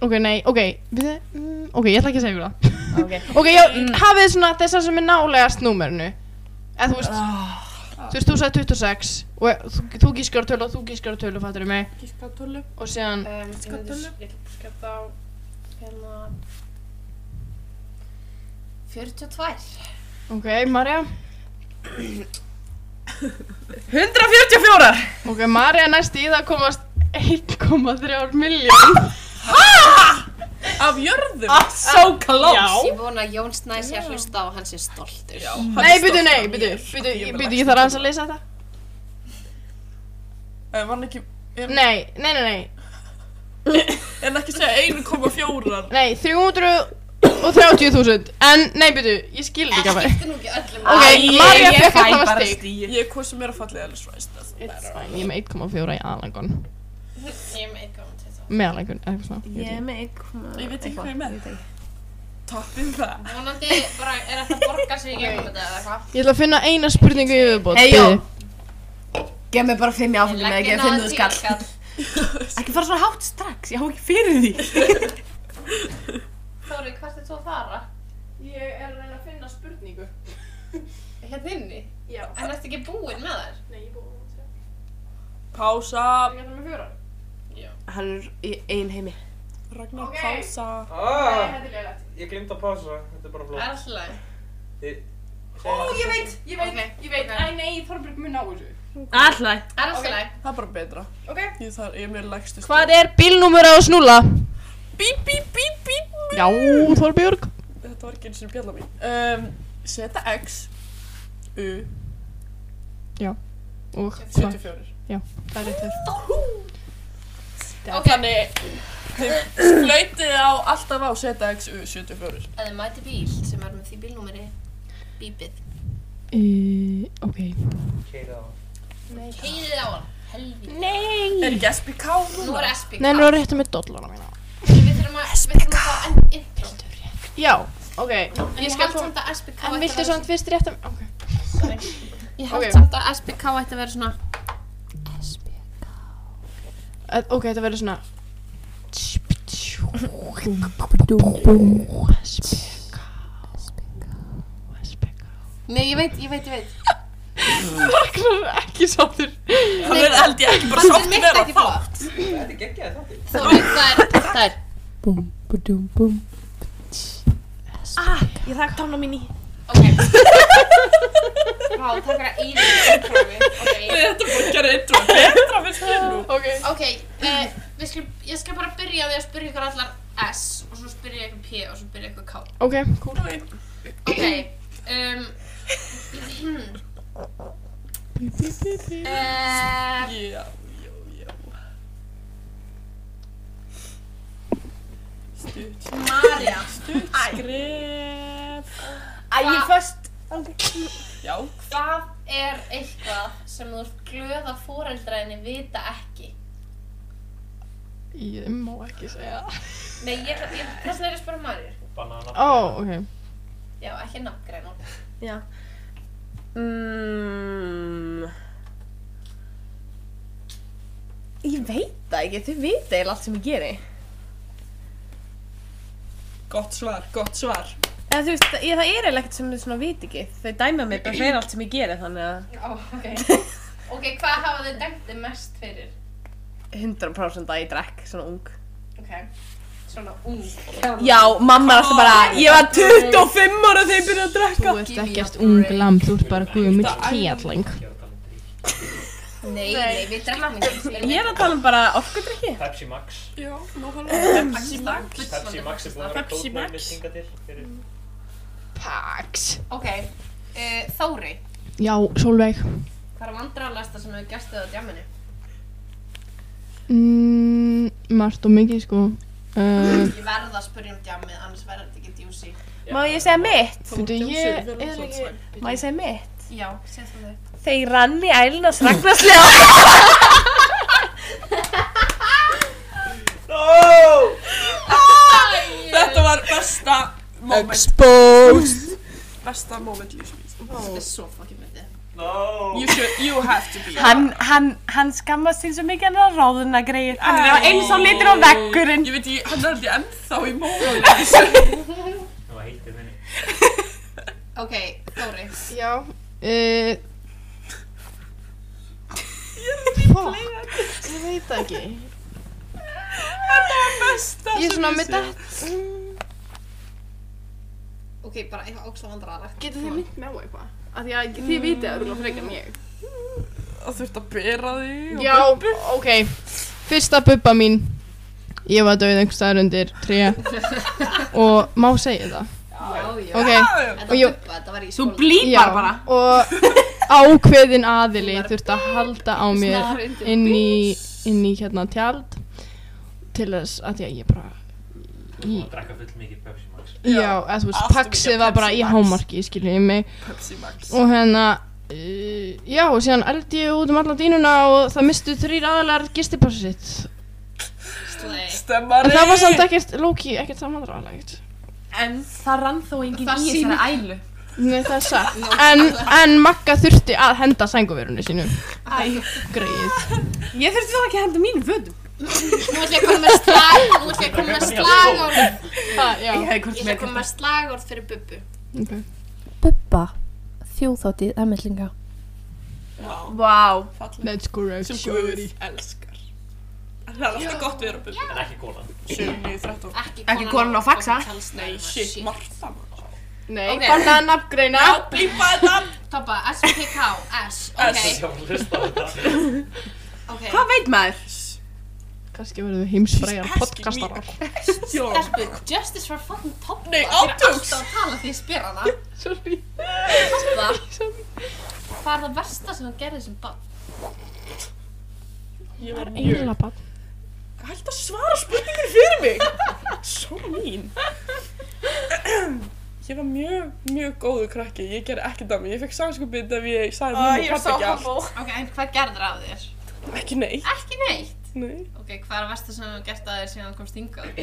Ok, nei, ok, við, mm, ok, ég ætla ekki að segja ykkur það Ok. Ok, já, hafið þið svona þessar sem er nálegast númerinu Eða þú veist, þú veist, þú sagði 26 Og þú, þú gískar á tölu og þú gískar á tölu, fattur mig gíska 12 Og síðan, Um, ég myndi s- myndi skata á hérna 42 ok, Marja 144! Ok, Marja næst í það komast 1,3 miljón Af jörðum Ah. So close! Ég vona að Jón Snæs ég að hlusta og hann sé stoltur Já, Nei, byrju, nei, byrju, byrju, byrju, ég þarf aðeins að leysa þetta Var hann Eh, ekki er, Nei, nei, nei, nei, er hann ekki að segja 1,4 nei, 330.000 En, nei, byrju, ég skil þetta ekki að Þetta er nú ekki öllum Ok, Marja ég fekk fæ alltaf að bara stig stíð. Ég er hvað sem er að falla eða svæst Fæn, Ég er með 1,4 í aðlangun Ég er með 1,22 Meðalangun, eitthvað svona ég Ég er veit með eitthvað. Ég veit ekki hvað ég er með. veit ekki. Toppið það Vonandi bara er þetta að borga sig í gegnum þetta eða eitthvað ekki. Ég ætla að finna eina spurningu í viðbót Hey, Jón. biðu. Gef mér bara fimm í áfengi með að Leggja gefa fimm náðan þú skall. tíu Ekki fara svona hátt strax, ég há ekki fyrir því. Þóri, hvert er þú að fara? Ég er að reyna að finna spurningu Hérna inni? Já. En ertu ekki búinn með þær? Nei, ég búið að Pása segja Ég ætla með fjóra Hann er í ein heimi. Ragnar Ok. pása Nei, Ah, þetta er leilægt ég glimt að pása. Þetta er bara Það er flott. alltaf leið Þið- Ó, ég veit, ég veit, Ok. ég veit Æ, nei, Þorbjörg mun á þessu Alltaf. Það er alltaf leið Það er bara betra Ok. Ég, þar, ég er með lægstu Hvað er bílnúmer á snúla? Bíp, bíp, bíp, bíp Já, Þorbjörg Þetta var ekki eins og bjalla mín um, Seta X U Og hvað? 74 Það er réttur Ok. Þannig Þið flöytið á alltaf á Seta X U 74 Ef þið mæti bíl sem er með því bílnúmeri Bípið Í, Ok Keyrið á. Heiðið á hann Helvið Er ekki SBK Nú núna? er SPK Nei, nú er réttu með dollara mína Við þurfum að Við þurfum að fá enn intro Já, ok En ég held samt að SPK ætti En að viltu vera samt fyrst réttum Ok svona- Ég ok. held samt að SPK ætti að vera svona Eh, Ok, þetta verður svona Nei, ég veit, ég veit, ég veit Ragnar er ekki sáttur Hann er held ég ekki bara Fannst þér sátt mitt meira ekki þá flott? Þetta er geggjaði þáttir. Þóri, það er, það er Ég þakk tána mín í. Ok Vá, það er að einu prófi Ok, Þetta er bara að gera intro Betra finnst mér nú Ok eh, ok, uh, við skulum, ég skal bara byrja á því að spyrja ykkur allar S og svo spyr ég eitthvað P og svo spyr ég eitthvað K. Ok, cool. Ok, um... uh, Já, já, já. Stutt, Marja, stutt skref. Æ, ég först Já, hvað er eitthvað sem þú ert glöð að fóreldraðinni vita ekki? Ég má ekki segja. Nei, ég, ég, þess vegna er ég að spara Marju. Banana. Ó, oh, ok. Já, ekki nafngræn hún. mm, Ég veit það ekki, þau veit eiginlega allt sem ég geri gott svar, gott svar. Eða þú veist, ég, það er eiginlega ekkert sem þau svona veit ekki Þau dæma mig bara fyrir allt sem ég geri þannig að Ó, ok. Ok, hvað hafa þið dæmt þið mest fyrir? 100% að ég drekk svona ung Ok, svona ung. Já, mamma er alltaf bara, ég var 25 ára þegar ég byrjaði að drekka Þú ert ekkert ung lamb, þú ert bara guðmill kjalling. Nei, nei, við drekkum ekki. Ég er að tala um bara orkudrykki Pepsi Max. Já, nú hann er um Pepsi Max. Pepsi Max er búin að vera Pepsi Max. kóðnæmið hinga til. fyrir- Ok, uh, Þóri, Já, Solveig. hvað er vandrarlegasta sem hefur gæst þið á djamminu? Mm, margt og mikið, sko. Eh, Uh, Ég verð að spyrja um djammið, annars verður þetta ekki djúsi. Má ég segja mitt? Fyrir ég er ekki... Má ég segja mitt? Já, segð þú þau. Þeir rann í ælunars ragnarslega Þetta var besta moment. Exposed. Besta moment lífsins. Þetta er svo fucking myndið. No. You should, you have to be. Hann, hann, hann skammast sín svo mikið hann er að ráðuna greið Hann er á eins og litur á veggurinn Ég veit ekki, hann er aldrei ennþá í móðunni. Það var heitið minni. Ok, Þóri. Já. Uh, Fuck, ég veit það ekki. Besta Ég er svona með dætt. Ok, bara eitthvað ógst og vandrarlegt. Getur þið mynd með á eitthvað? Af því að þið vitið að rúla frekar en ég. Þú þurft að bera þig. Já, ok. Fyrsta bubba mín. Ég var döið einhvers staðar undir tré og má segja það. Já, já. Ok, Þetta og ég- bubba, þetta var í skóla. Þú já, og ákveðin aðili þurfti að halda á mér inn í, inn í hérna tjald til þess að því að ég bara, Þú var að drekka full mikið Pepsi Max. já, eða þú veist, Allt of paksið mikið var bara Pepsi í Max. hámarki, skiljið mig. Pepsi Max. og hérna uh, já, og síðan eldi ég út um alla dýnuna og það mistu þrýr aðalar gistipassi sitt Slay. Stemmari. en það var samt ekkert, Loki, ekkert samandraðalegt En það rann þó engin Það í sýnir- þessari ælu Nei, það er satt en, en Magga þurfti að henda sænguverunni sínu Æ. greið Ég þurfti það ekki að henda mínum fötum Nú ætlum ég að koma með slag, nú ætlum ég að koma með slagorð. það, já Ég hefði Ég ætlum hvort sem að koma með slagorð fyrir bubbu. okay. Bubba, þjóðþáttið emmellinga. Vá let's go Sem Guð elskar. Það er alltaf gott við erum bubbi. En ekki kóla. 7, 9, 13. Ekki konan á faxa. Nei, shit, Martha. maður. nei, Ok. banna nafngreina Já, blípa þetta. Toppa, SPK, S, ok, S. Ég var að hlusta á þetta. ok. Hvað veit maður? kannski verðum við heimsfræjar She's asking me podcastarar Já. Stelpu, justice for fucking Toppa. Nei, Þið er átöks. alltaf að tala því ég spyr hana. sorry Toppa. Hvað er það versta sem hann gerði sem bann? Ég var mjög... englabann Hætt að svara spurningur fyrir mig! Svo mín! Ég var mjög, mjög góðu krakki, ég gerði ekki dæmi, ég fekk samskupið ef ég sagði mamma og pappa ekki allt. Ok, en hvað gerður á þér? Ekki nei, Ekki neitt. nei. Ok, hvað er það versta sem hann gerði að þér síðan hann komst hingað?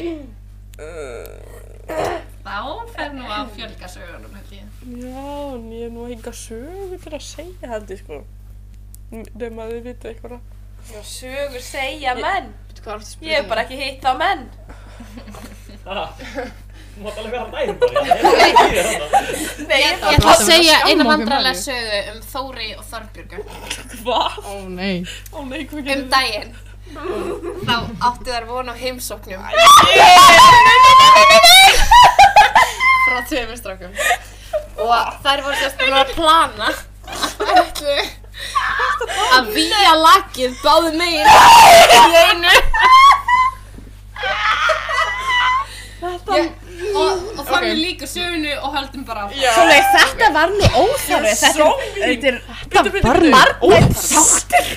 Uh, Þá fer nú að fjölga sögunum, held ég. Já, en ég er nú að hinga sögu til að segja held ég sko. Nefn að þið vita eitthvað. Sögur segja menn Ég hef bara ekki hitt á menn Ha? Þú mátt alveg vera næðin bara. Ég er ekki að gera þetta. Nei, ég Ég ætla að sem segja skjáma eina okkur vandrarlega Maríu. sögu um Þóri og Þorbjörgu. Hvað? ó nei Ó nei, hvað um gerði? daginn þá áttu þær von á heimsóknum frá tveimur strákum og þær voru sérst búin að plana Þær ætluðu að výja lakið báðu megin í einu Ég, og, og þannig líka sögunu og höldum bara áfram. Já. Sólveig, þetta var nú óþarfi. Þetta er, þetta er, þetta var margmætt sáttir.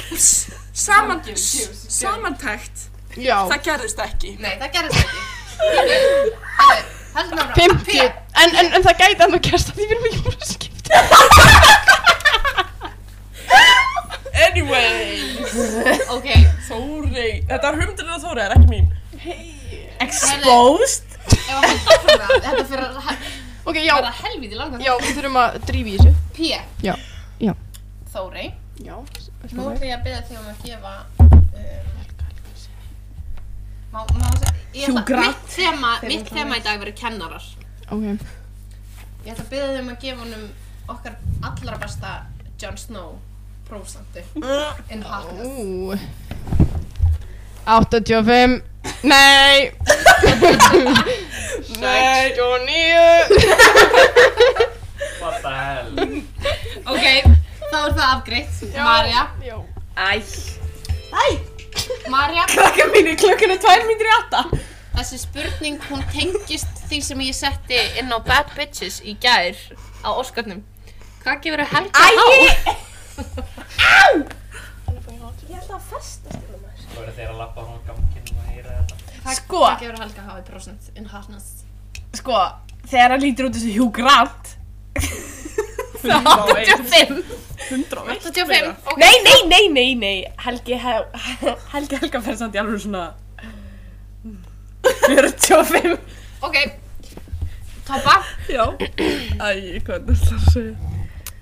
Saman, samantækt Já. það gerðist ekki Nei, það gerðist ekki. Herru, Höldum áfram. 50. En, en, en það gæti ennþá gerst að því við erum ekki búin að skipta. anyway, Ok, Þórey þetta er humdurinn af Þórey, er ekki mín Exposed. ef að halda áfram það, þetta fyrir að hel- Ok, já. verða helviti langan. Já, við þurfum að drífi í þessu. P. Já, já. Þórey. Já. Nú ætla ég að byrja þig um að gefa um, má, má, ég ætla, Hjúkra. mitt, þema, mitt þema í dag verður kennarar Ok. Ég ætla að byrja þig um að gefa honum okkar allra besta Jon Snow prófstandu in hotness Ú. 85. Nei. 69. What the hell? Ok, þá er það afgreitt Marja Æ. Marja, Krakka mínu, klukkan er 2 mínútur í 8. þessi spurning hún tengist því sem ég setti inn á Bad Bitches í gær á Óskarnum Hvað gefur þau helga á? Þú verður þeir að lappa hún ganginn og heyra þetta. Sko, Hvað gefur þau helga á í prófstant in hotness? sko, þegar hann lítur út þessu Hugh Grant. Það er 85. 85 ok. Nei, nei, nei, nei, nei. Helgi, Hel- Helgi Helga fer samt í alveg svona... 45. ok Toppa Æ, hvað er þetta að segja?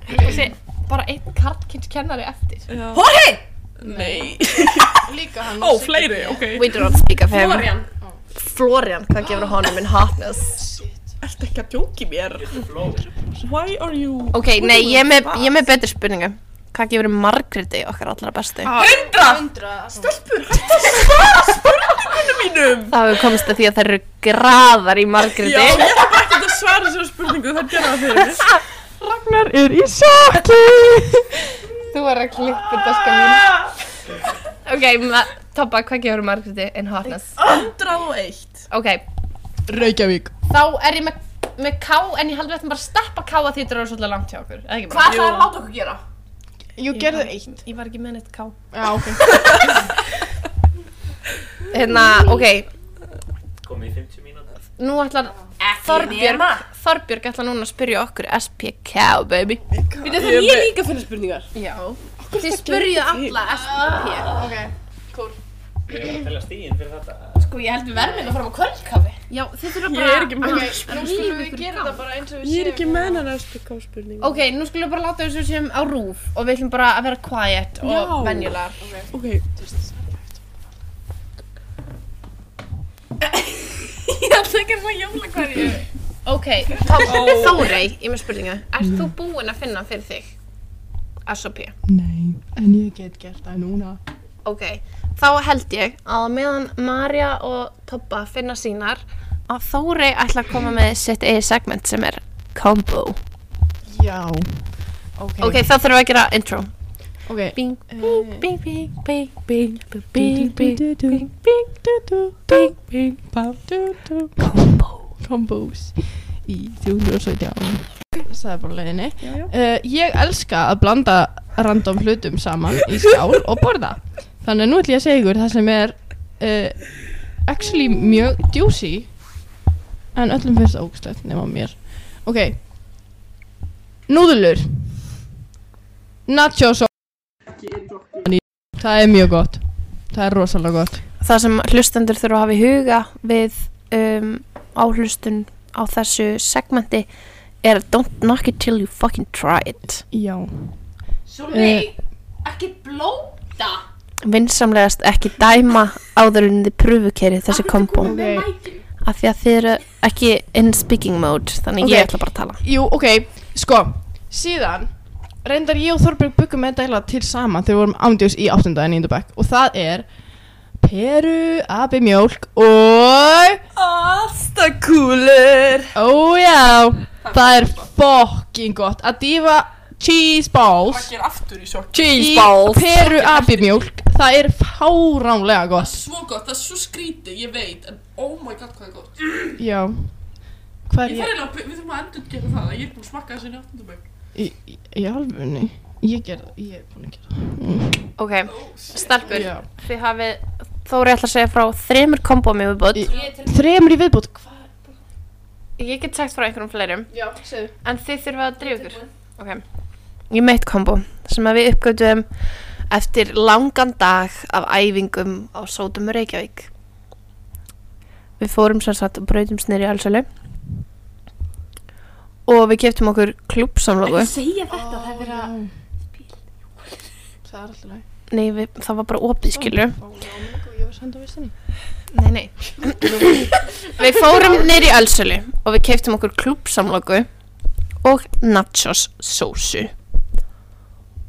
Þessi, bara einn karlkynns kennari eftir Hóri! Nei Líka hann Ó, fleiri, ok We do not speak of him. Florian Florian, hvað gefur honum in hotness? Ertu ekki að djóki mér? Fló. Why are you Ok, nei, ég er með, ég er með betri spurningu. Hvað gefur Margréti okkar allra bestu? Ah. 100 mínum? Þá hefur við komist að því að þær eru graðar í Margréti. Já, ég þarf bara ekki að svara sér spurningu, það gerða það fyrir mig. Ragnar er í sjokki. Þú er að klippa sko. daska mín. Ok, ma- Tobba, hvað gefur Margréti in hotness? 101 Ok, Reykjavík. Þá er ég með með K, en ég held við ættum bara að steppa K að því þetta eru svolítið langt hjá okkur. eða ekki bara? Hvað ætlaði að láta okkur gera? Jú, gerðu eitt. Ég var ekki með neitt K. Já, ok. Hérna, ok, Komið í 50 mínútur. nú ætlar Þorbjörg, Þorbjörg ætlar núna að spyrja okkur SPK, baby. Við þetta ég líka Þið spurjuð alla SPP Ég er að telja stíðin fyrir þetta. Sko ég held við verðum hérna fram á kvöldkafi Já, þið þurfa bara Ég er ekki með okay, Nú skulum við gera það bara eins og við séum ekki með hennar SPK spurning. Ok, nú skulum við bara láta þessu sem á rúf og við ætlum bara að vera quiet og Já. venjulegar Ok. Ok, Tom, Þórey, ég er með spurningu Ert þú búin að finna fyrir þig? SOP Nei, en ég get gert það núna. Ok, þá held ég að á meðan Marja og Tobba finna sínar Að Þórey ætlar að koma með sitt eigið segment sem er Combo. Já. Ok. Ok, þá þurfum við að gera intro. Ok. Eh. Bing, bing, bing, bing, bing, bing, bing, Bing, bing, bing, bing. bing, bing, bing, bing, bing, Combo. Combos í 317. Það er bara á leiðinni. Uh, ég elska að blanda random hlutum saman í skál og borða. Þannig að nú ætlum ég að segja ykkur það sem er uh, actually mjög juicy en öllum finnst það ógstætt nema mér. Ok. Núðulur. Nachos og... Það er mjög gott. Það er rosalega gott. Það sem hlustendur þurfa að hafa í huga við um, áhlustun á þessu segmenti er Don't knock it till you fucking try it. Já. Eh, Sólveig, ekki blóta Vinsamlegast ekki dæma áður en þið pröfukeri þessi kombo. Ok. Af því að þið eru ekki in speaking mode, þannig Ok. ég ætla bara að tala. Jú, ok, sko, síðan reyndar ég og Þorbjörg byggum með þetta eiginlega til saman þegar við vorum ándjós í 8. en 9. bekk og það er peru, abi mjólk og Astakúlur! ó já, það er fokking gott að dífa cheese balls Hvað gerir aftur í sjokk? Cheese balls Í peru abimjólk Það er fáránlega gott Svo gott, það er svo skrítið, ég veit, en oh my god hvað er gott. Já Hvað er Ég þarf ég? eiginlega, að- við þurfum að endur gera það, ég er búin að smakka þessu í áttundabæk. Í, í, í alvunni Ég gerði, ég er búin að gera Mm. Ok, stelpur, Já. þið hafið Þóri ætla að segja frá þremur kombómi við bótt. Í- Þremur í viðbútt Hvað? Ég get sagt frá einhverjum fleirum, Já, segðu. en þið þurfa að drífa ykkur. Ok, ég meitt kombó sem að við uppgötum eftir langan dag af æfingum á Sótum Reykjavík. Við fórum sem sagt og brautumst niður í allsölu og við keftum okkur klúbsamlógu. segja þetta, það er verið að... Það er alltaf læg Nei, við, það var bara opið skilju. Ég var senda vissinni Nei, nei. við fórum niður í Ölsölu og við keiftum okkur klúbsamlöku og nachos sósu.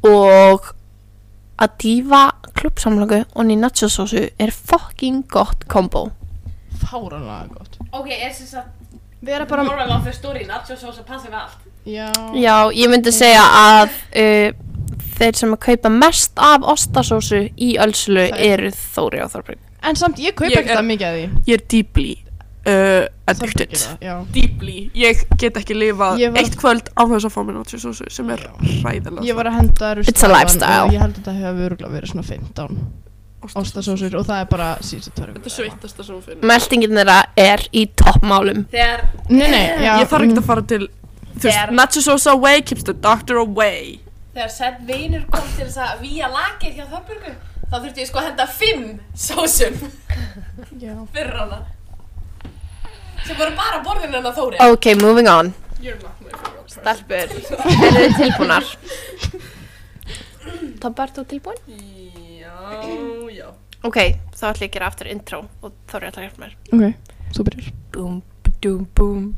Og að dýfa klúbsamlöku og ný nachos sósu er fucking gott kombo. Fáránlega gott Ok, er þess að Vera bara moral of the story, nachos og svo passið við allt. Já Já, ég myndi segja að uh, þeir sem að kaupa mest af ostasósu í Ölsölu Það er- eru Þóri og Þorbrinn. En samt ég kaupa Ég ekki er- það mikið að því Ég er deeply uh, Samt ég geri það, Já Deeply, ég get ekki lifað Ég var- eitt kvöld án þess að fá mér náttúrsósu sem er Já. hræðilega Ég var að henda rusl It's a áðan lifestyle. og Ég held að þetta hefur örgulega verið svona 15 Ostasósu. Ostasósur og það er bara síðan törfum Þetta er sveittasta sem hún finnir Meltingin þeirra er í toppmálum. Þegar, Nei, nei, já Ég þarf ekki að fara til Þú veist, Þegar- náttúrsósa away keeps the doctor away þegar sett vinur kom til þess að víja lakið hjá Þorbergu, þá þurfti ég sko að henda fimm sósum Já. fyrir hana. Sem voru bara borðin hennar Þóri. Ok, moving on. You're not my favorite person Stelpur, eru þið tilbúnar? Tobba, ert þú tilbúin? Já, já Ok, þá ætla ég að gera aftur intro og þá er ég að hjálpa mér. Mm, Ok, þú byrjar Búm, búm, búm.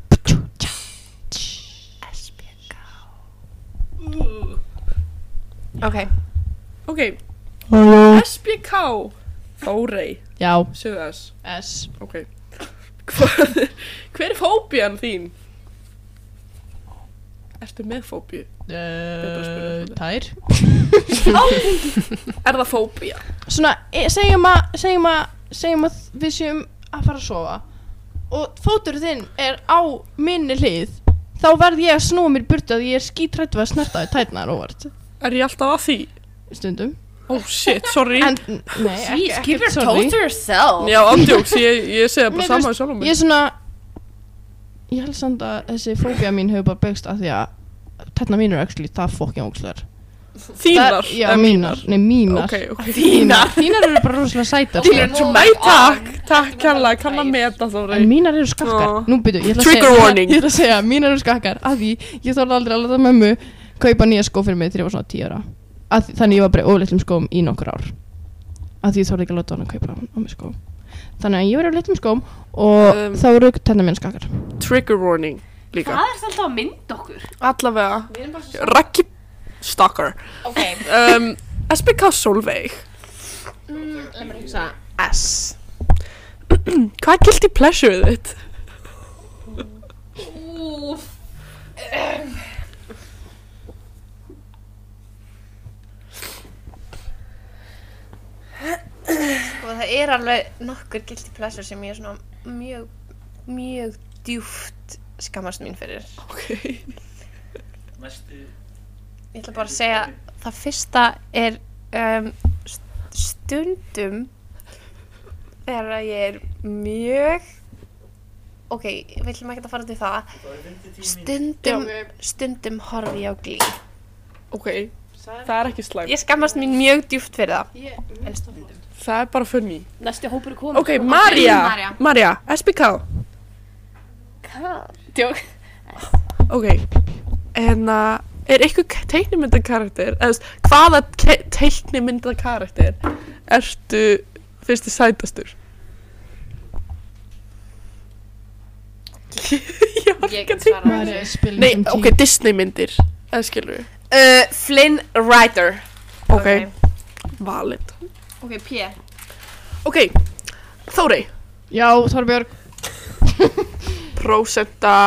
SBK. Ok, Ok, Mm. SBK Þórei, Já sögðu þess S Ok Hvað, Hver er fóbían þín? Ertu með fóbíu? að spyrja Uh, svona. tær Er það fóbía? Svona, e- segjum að segjum að segjum að við séum að fara að sofa og fótur þinn er á minni hlið þá verð ég að snúa mér í burtu að ég er skítrætt við að snerta því tærnar óvart Er ég alltaf að því? stundum Oh shit, sorry en, nei, ekki, ekki, Keep your sorry. toes to yourself. Já, andjóks, ég, ég segja bara Mér sama finnst- við sjálfum Ég mig er svona Ég held samt að þessi fóbía mín hefur bara byggst að því að Tætna mínur actually, það fokkja ógslegar Þínar, Já, eða mínar, nei mínar Ok, ok Þínar Þínar eru bara rosalega sætar sko. Nei, takk, takk kærlega, kann að meta Þórei En mínar eru skakkar Ó. Nú byrju, ég ætla að Trigger segja warning. Ég ætla að segja, mínar eru skakkar Af því, ég þorði aldrei að láta mömmu Kaupa nýja skó fyrir mig þegar ég var svona 10 ára Af því, Þannig ég var bara í ólitlum skóm í nokkur ár Af því ég þorði ekki að láta hann að kaupa á mig skó Þannig að ég var í litlum skóm Og Um. þá eru tætna mínar skakkar Trigger warning líka Það er alltaf að mynda okkur. Allavega Við erum bara svo... Raggi Stalker Ok, um, SBK Solveig S. Hvað er guilty pleasure þitt? úf. Og það er alveg nokkur guilty pleasure sem ég er svona mjög, mjög djúft skammast mín fyrir. Ok Næstu Ég ætla bara að segja, það fyrsta er um, st- stundum þegar að ég er mjög, ok, við ætlum ekki að fara til það, stundum, stundum horfi ég á glý. Ok, það er ekki slæm Ég skammast mín mjög djúpt fyrir það. Það er bara fyrir mig Næsti hópur er komið. Ok, Marja Marja, SBK Djók. Ok En að Er eitthvað teiknimyndakarakter eða þú veist, hvaða ke- teiknimyndakarakter ertu fyrst í sætastur? Ég var ekki að teikna Nei, ok, Disney myndir eða skilur við Uh, Flynn Rider. Ok, valid Ok, P. Ok, Þórey Já, Þorbjörg Prósenta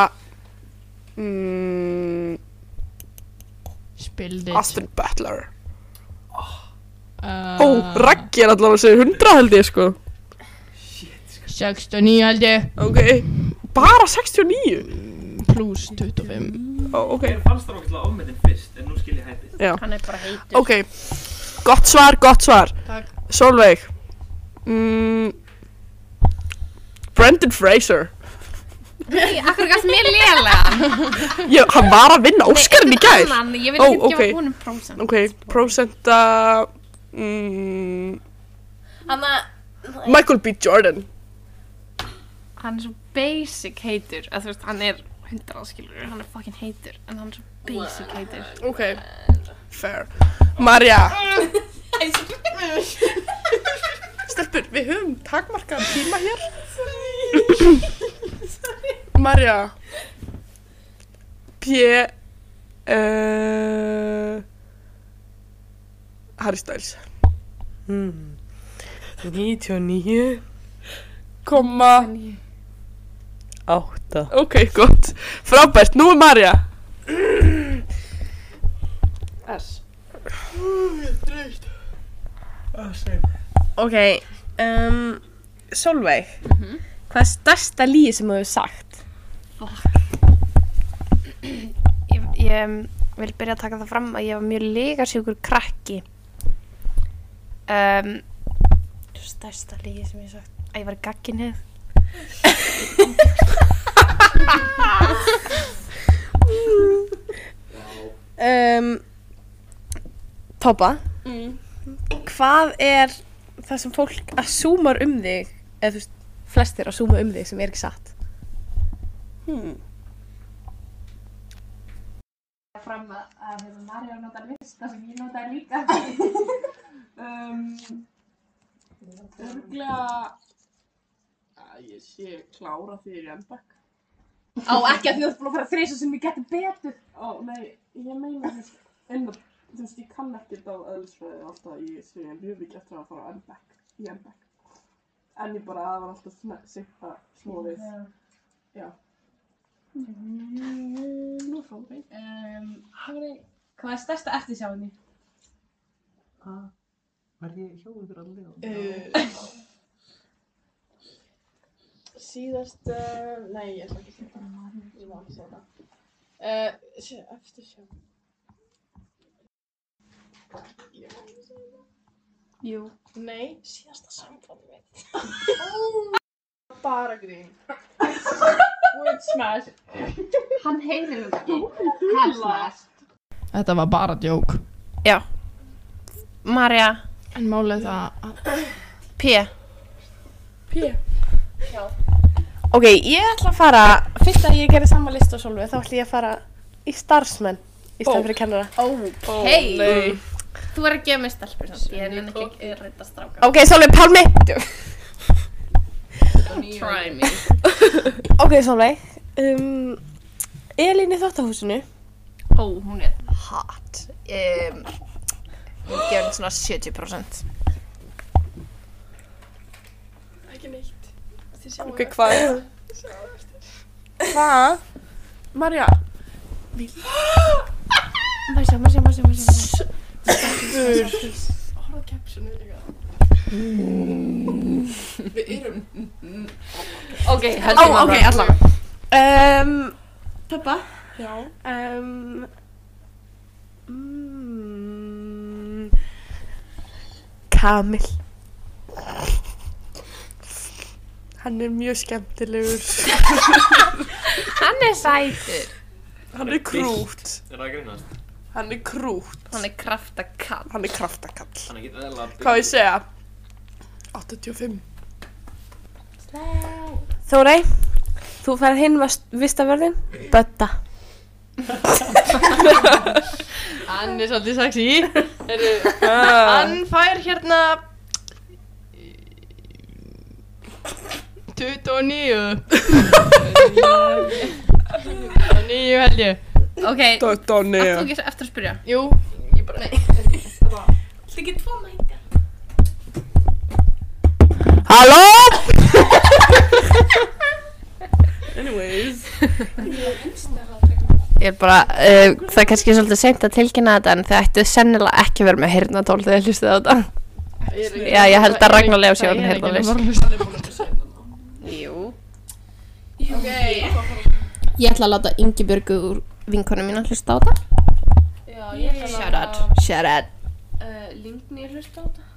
mm, Build it. Austin Butler Uh, Ó, Raggi er allavega að segja 100 held ég sko 69 held ég. Ok, bara 69 Plus 25. Ó, ok Ég fannst það okkur ofmyndin fyrst, en nú skil ég hæpið. Já. Hann er bara heitur. Ok, gott svar, gott svar Takk. Solveig mm, Brendan Fraser Nei, akkur gafst mér lélega. ég, Hann var að vinna Óskarinn í gær Annan, ég vil Ó, ekki ok. gefa honum prósent. Ok, prósenta mm, Hanna, Michael B. Jordan Hann er svo basic heitur, að þú veist, hann er 100 skilur, hann er fucking heitur, en hann er svo basic heitur. Ok, fair Marja Stelpur, við höfum takmarkaðan tíma hér Marja P eh, uh, Harry Styles hmm. 99 komma 8 Ok, gott, frábært, nú er Marja S. Ah, Ok, um, Solveig, hvað er stærsta líi sem þú hefur sagt? Ég, ég um, vil byrja að taka það fram að ég var mjög legarsjúkur krakki. Um, stærsta lígi sem ég hef sagt. Að ég var gagginnið. Um, Toppa, Mm. hvað er það sem fólk að súmar um þig, eða þú veist, flestir að súma um þig sem er ekki satt? Hmm. fram að, að hérna, Marja notar lista sem ég notar líka um, Örglega að ég sé klára fyrir ennbakk. á ekki að þú ert búin að fara þreysa sem ég geti betur Ó, nei, ég meina þú veist, inn að, þú veist, ég kann ekkert á öðlisfræði alltaf, ég sé mjög mikið eftir að fara á ennbakk, í ennbakk. En ég bara, það var alltaf svona, sitt að snúa við. Já. Nú er fólk um, Hafri, hvað er stærsta eftirsjáinni? Hvað? Var ég hjóður fyrir allir? Uh, síðast, uh, nei, ég ætla ekki að segja það. Ég má ekki segja það. Uh, sé, eftir sjá. Ég má ekki segja það. Jú. Nei, síðasta sambandi mitt. Bara grín. Wood smash. Hann heyrir þetta ekki. Wood smash. Þetta var bara djók. Já. Marja, En málið það að... P. P. já. Ok, ég ætla að fara, fyrst að ég gerði sama list og Solveig, þá ætla ég að fara í starfsmenn Ó. í stað fyrir kennara. Ok. Ó, Mm. nei. Þú er að gefa mér stelpur samt. Ég er enn ekki að reyta stráka. Ok, Solveig, Pálmi! Try me. ok, Solveig, um, Elín í þáttahúsinu. Ó, hún er hot. Um, hún gefur henni svona 70%. Ekki neitt. Þið sjáum Ok, hvað er Hvað? Marja Marja, Marja, Marja, Marja. Horfa captionu líka. Við erum... Ok, höldum Ó, ok, áfram. allavega. Um, Peppa? Já. Um, mm, Kamil Hann er mjög skemmtilegur Hann er sætur. Hann er krút Er það að grínast? Hann er krút Hann er kraftakall. Hann er kraftakall Hann er ekki eðla að Hvað á ég að segja? 85 Þórei, þú færð hinn vistavörðin, Bötta. Hann er svolítið sexy. Heru, Ah. hann fær hérna... 29. 29 held ég. Ok, Dóni Þú ekki eftir að spyrja? Jú. Ég bara, nei. Þú getur tvo mæta. Halló Anyways Ég er einstaklega að tryggja. Ég er bara, uh, það er kannski svolítið seint að tilkynna þetta en þið ættu sennilega ekki verið með hirnatól þegar þið hlustið á þetta. Já, ég held að Ragnar Leó sé orðin hirnatólist. Jú. Ok. Ég ætla að láta Ingibjörgu úr vinkonu mín að hlusta á þetta. Já, ég ætla að Shout out. Shout out. Uh, Lingni hlusta á þetta.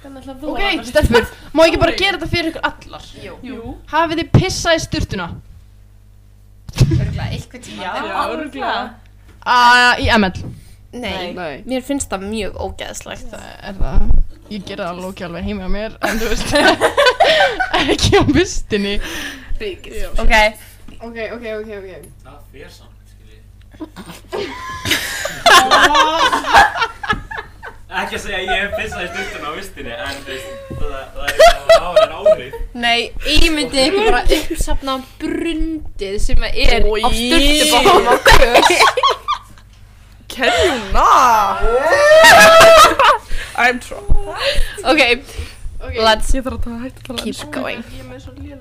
Þannig ætla að þú Ok, stelpur, má ég ekki bara gera þetta fyrir ykkur allar? Jú. Jú. Hafið þið pissað í sturtuna? Örgulega, eitthvað tíma. Já, örugglega. Uh, í ML. Nei, Nei. mér finnst það mjög ógeðslegt. Er það? Ég gera það alveg ekki alveg heima á mér, en þú veist, ekki á vistinni. Ríkis. Ok. Ok, ok, ok, ok. Það fyrir samt, skiljið. Ekki að segja að ég hef pissað í stundun á vistinni, en þú veist, það, það er eitthvað að hafa þenn áhrif. Nei, ímyndið ykkur bara uppsafna brundið sem er á styrtubóðum á kös. Can you not? I'm trying. Ok, let's Ég þarf að taka hægt að tala keep going.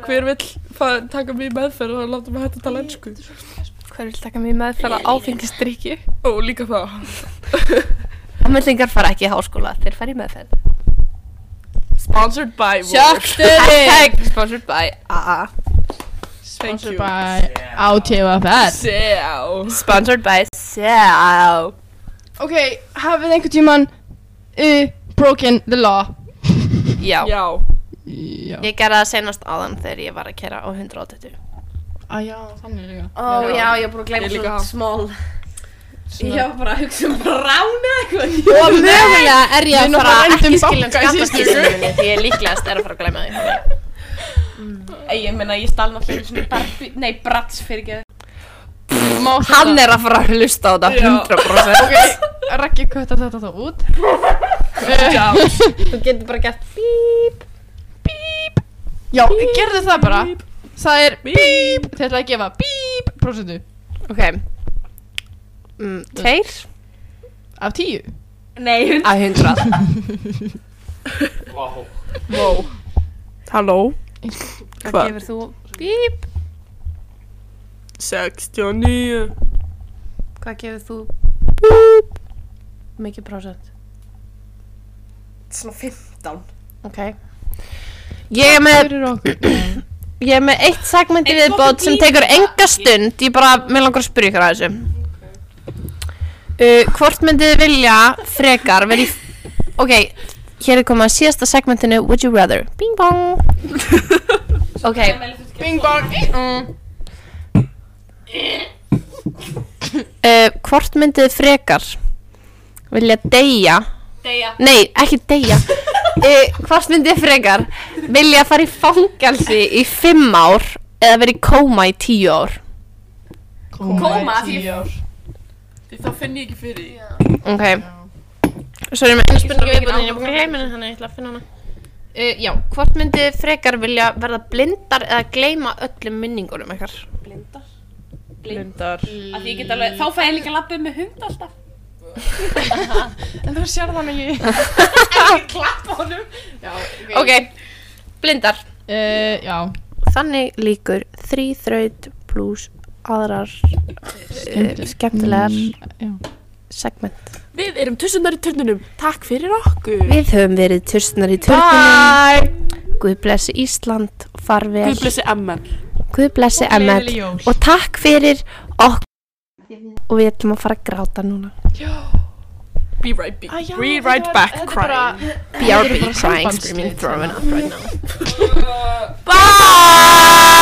Hver vill fa- taka mig í meðferð og láta mig hægt að tala ennsku? Hver vil taka mér meðferð á áfengistrykju? Og líka það. Ameldingar fara ekki í háskóla, þeir fara í meðferð. Sponsored by Hashtag sponsored by Ah, AA. Sponsored by ÁTFR. Seo. Sponsored by SEO. Ok, hafið einhvern tíman uh, broken the law? Já. Já. Já. Ég gerði það senast áðan þegar ég var að kera á 180. Ah, já, þannig líka. Ó, já, ég er búin að gleyma Ég líka svona hafa. small. Ég var bara að hugsa um bara rána Og eitthvað. mögulega er ég Við að erum fara að að rændum ekki skilja banka í síðustu skattaskýrslunni minni því ég líklegast er að fara að glemja því. Ei, ég meina, ég stal náttúrulega svona barbi, nei, brats fyrir ekki. Hann er að fara að hlusta á þetta 100%. Raggi köttar þetta þá út. Eh, Þú getur bara gert bíp. Já, gerðu það bara. Það er bíp. Þið ætlaði að gefa bíp prosentu Ok. Mm, Tveir af tíu. Nei, hund. að 100. Vá. Wow. Halló. Hvað Hvað? gefur þú? Bíp. 69. Hvað gefur þú? Mikið prósent. Svona 15. Ok. Ég er með, Fyrir okkur. ég er með eitt segment í viðbót sem tekur enga stund. Ég bara, mér langar að spyrja ykkur að þessu. Uh, hvort myndið þið vilja frekar verið... Ok, hér er komið að síðasta segmentinu Would you rather? Bing bong. Ok. Mm. Bing bong. Uh, hvort myndið þið frekar vilja deyja Deyja. nei, ekki deyja uh, hvort myndið þið frekar vilja fara í fangalsi í fimm ár eða verið í kóma í tíu ár Koma, því ég- ár. Því þá finn ég ekki fyrir því. ok svo erum við einu spurningu Ég er viðbúin búin að gleyma henni, þannig ég ætla að finna hana. uh, um já, hvort myndið þið frekar vilja verða blindar eða gleyma öllum minningunum ykkar Blindar. Blindar. Af því ég get alveg, þá fæ ég líka lappið með hund alltaf. En þú sér það ekki. Ekki klappa honum. ok, blindar Uh, já. þannig líkur þrý þraut pluss aðrar Eh, uh, pues, skemmtilegar já. segment Við erum tussunar í törnunum. Takk fyrir okkur. Við höfum verið turstnar í törnunum. Guð blessi Ísland, farvel. Guð blessi MN. Guð blessi ML. Gleðileg jól. Og takk fyrir okkur. Og við ætlum að fara að gráta núna. Be right back. Ah, já, Be þetta right var- back þetta er crying. bara- BRB, bara crying, sambandsslit, screaming, throwing up right now.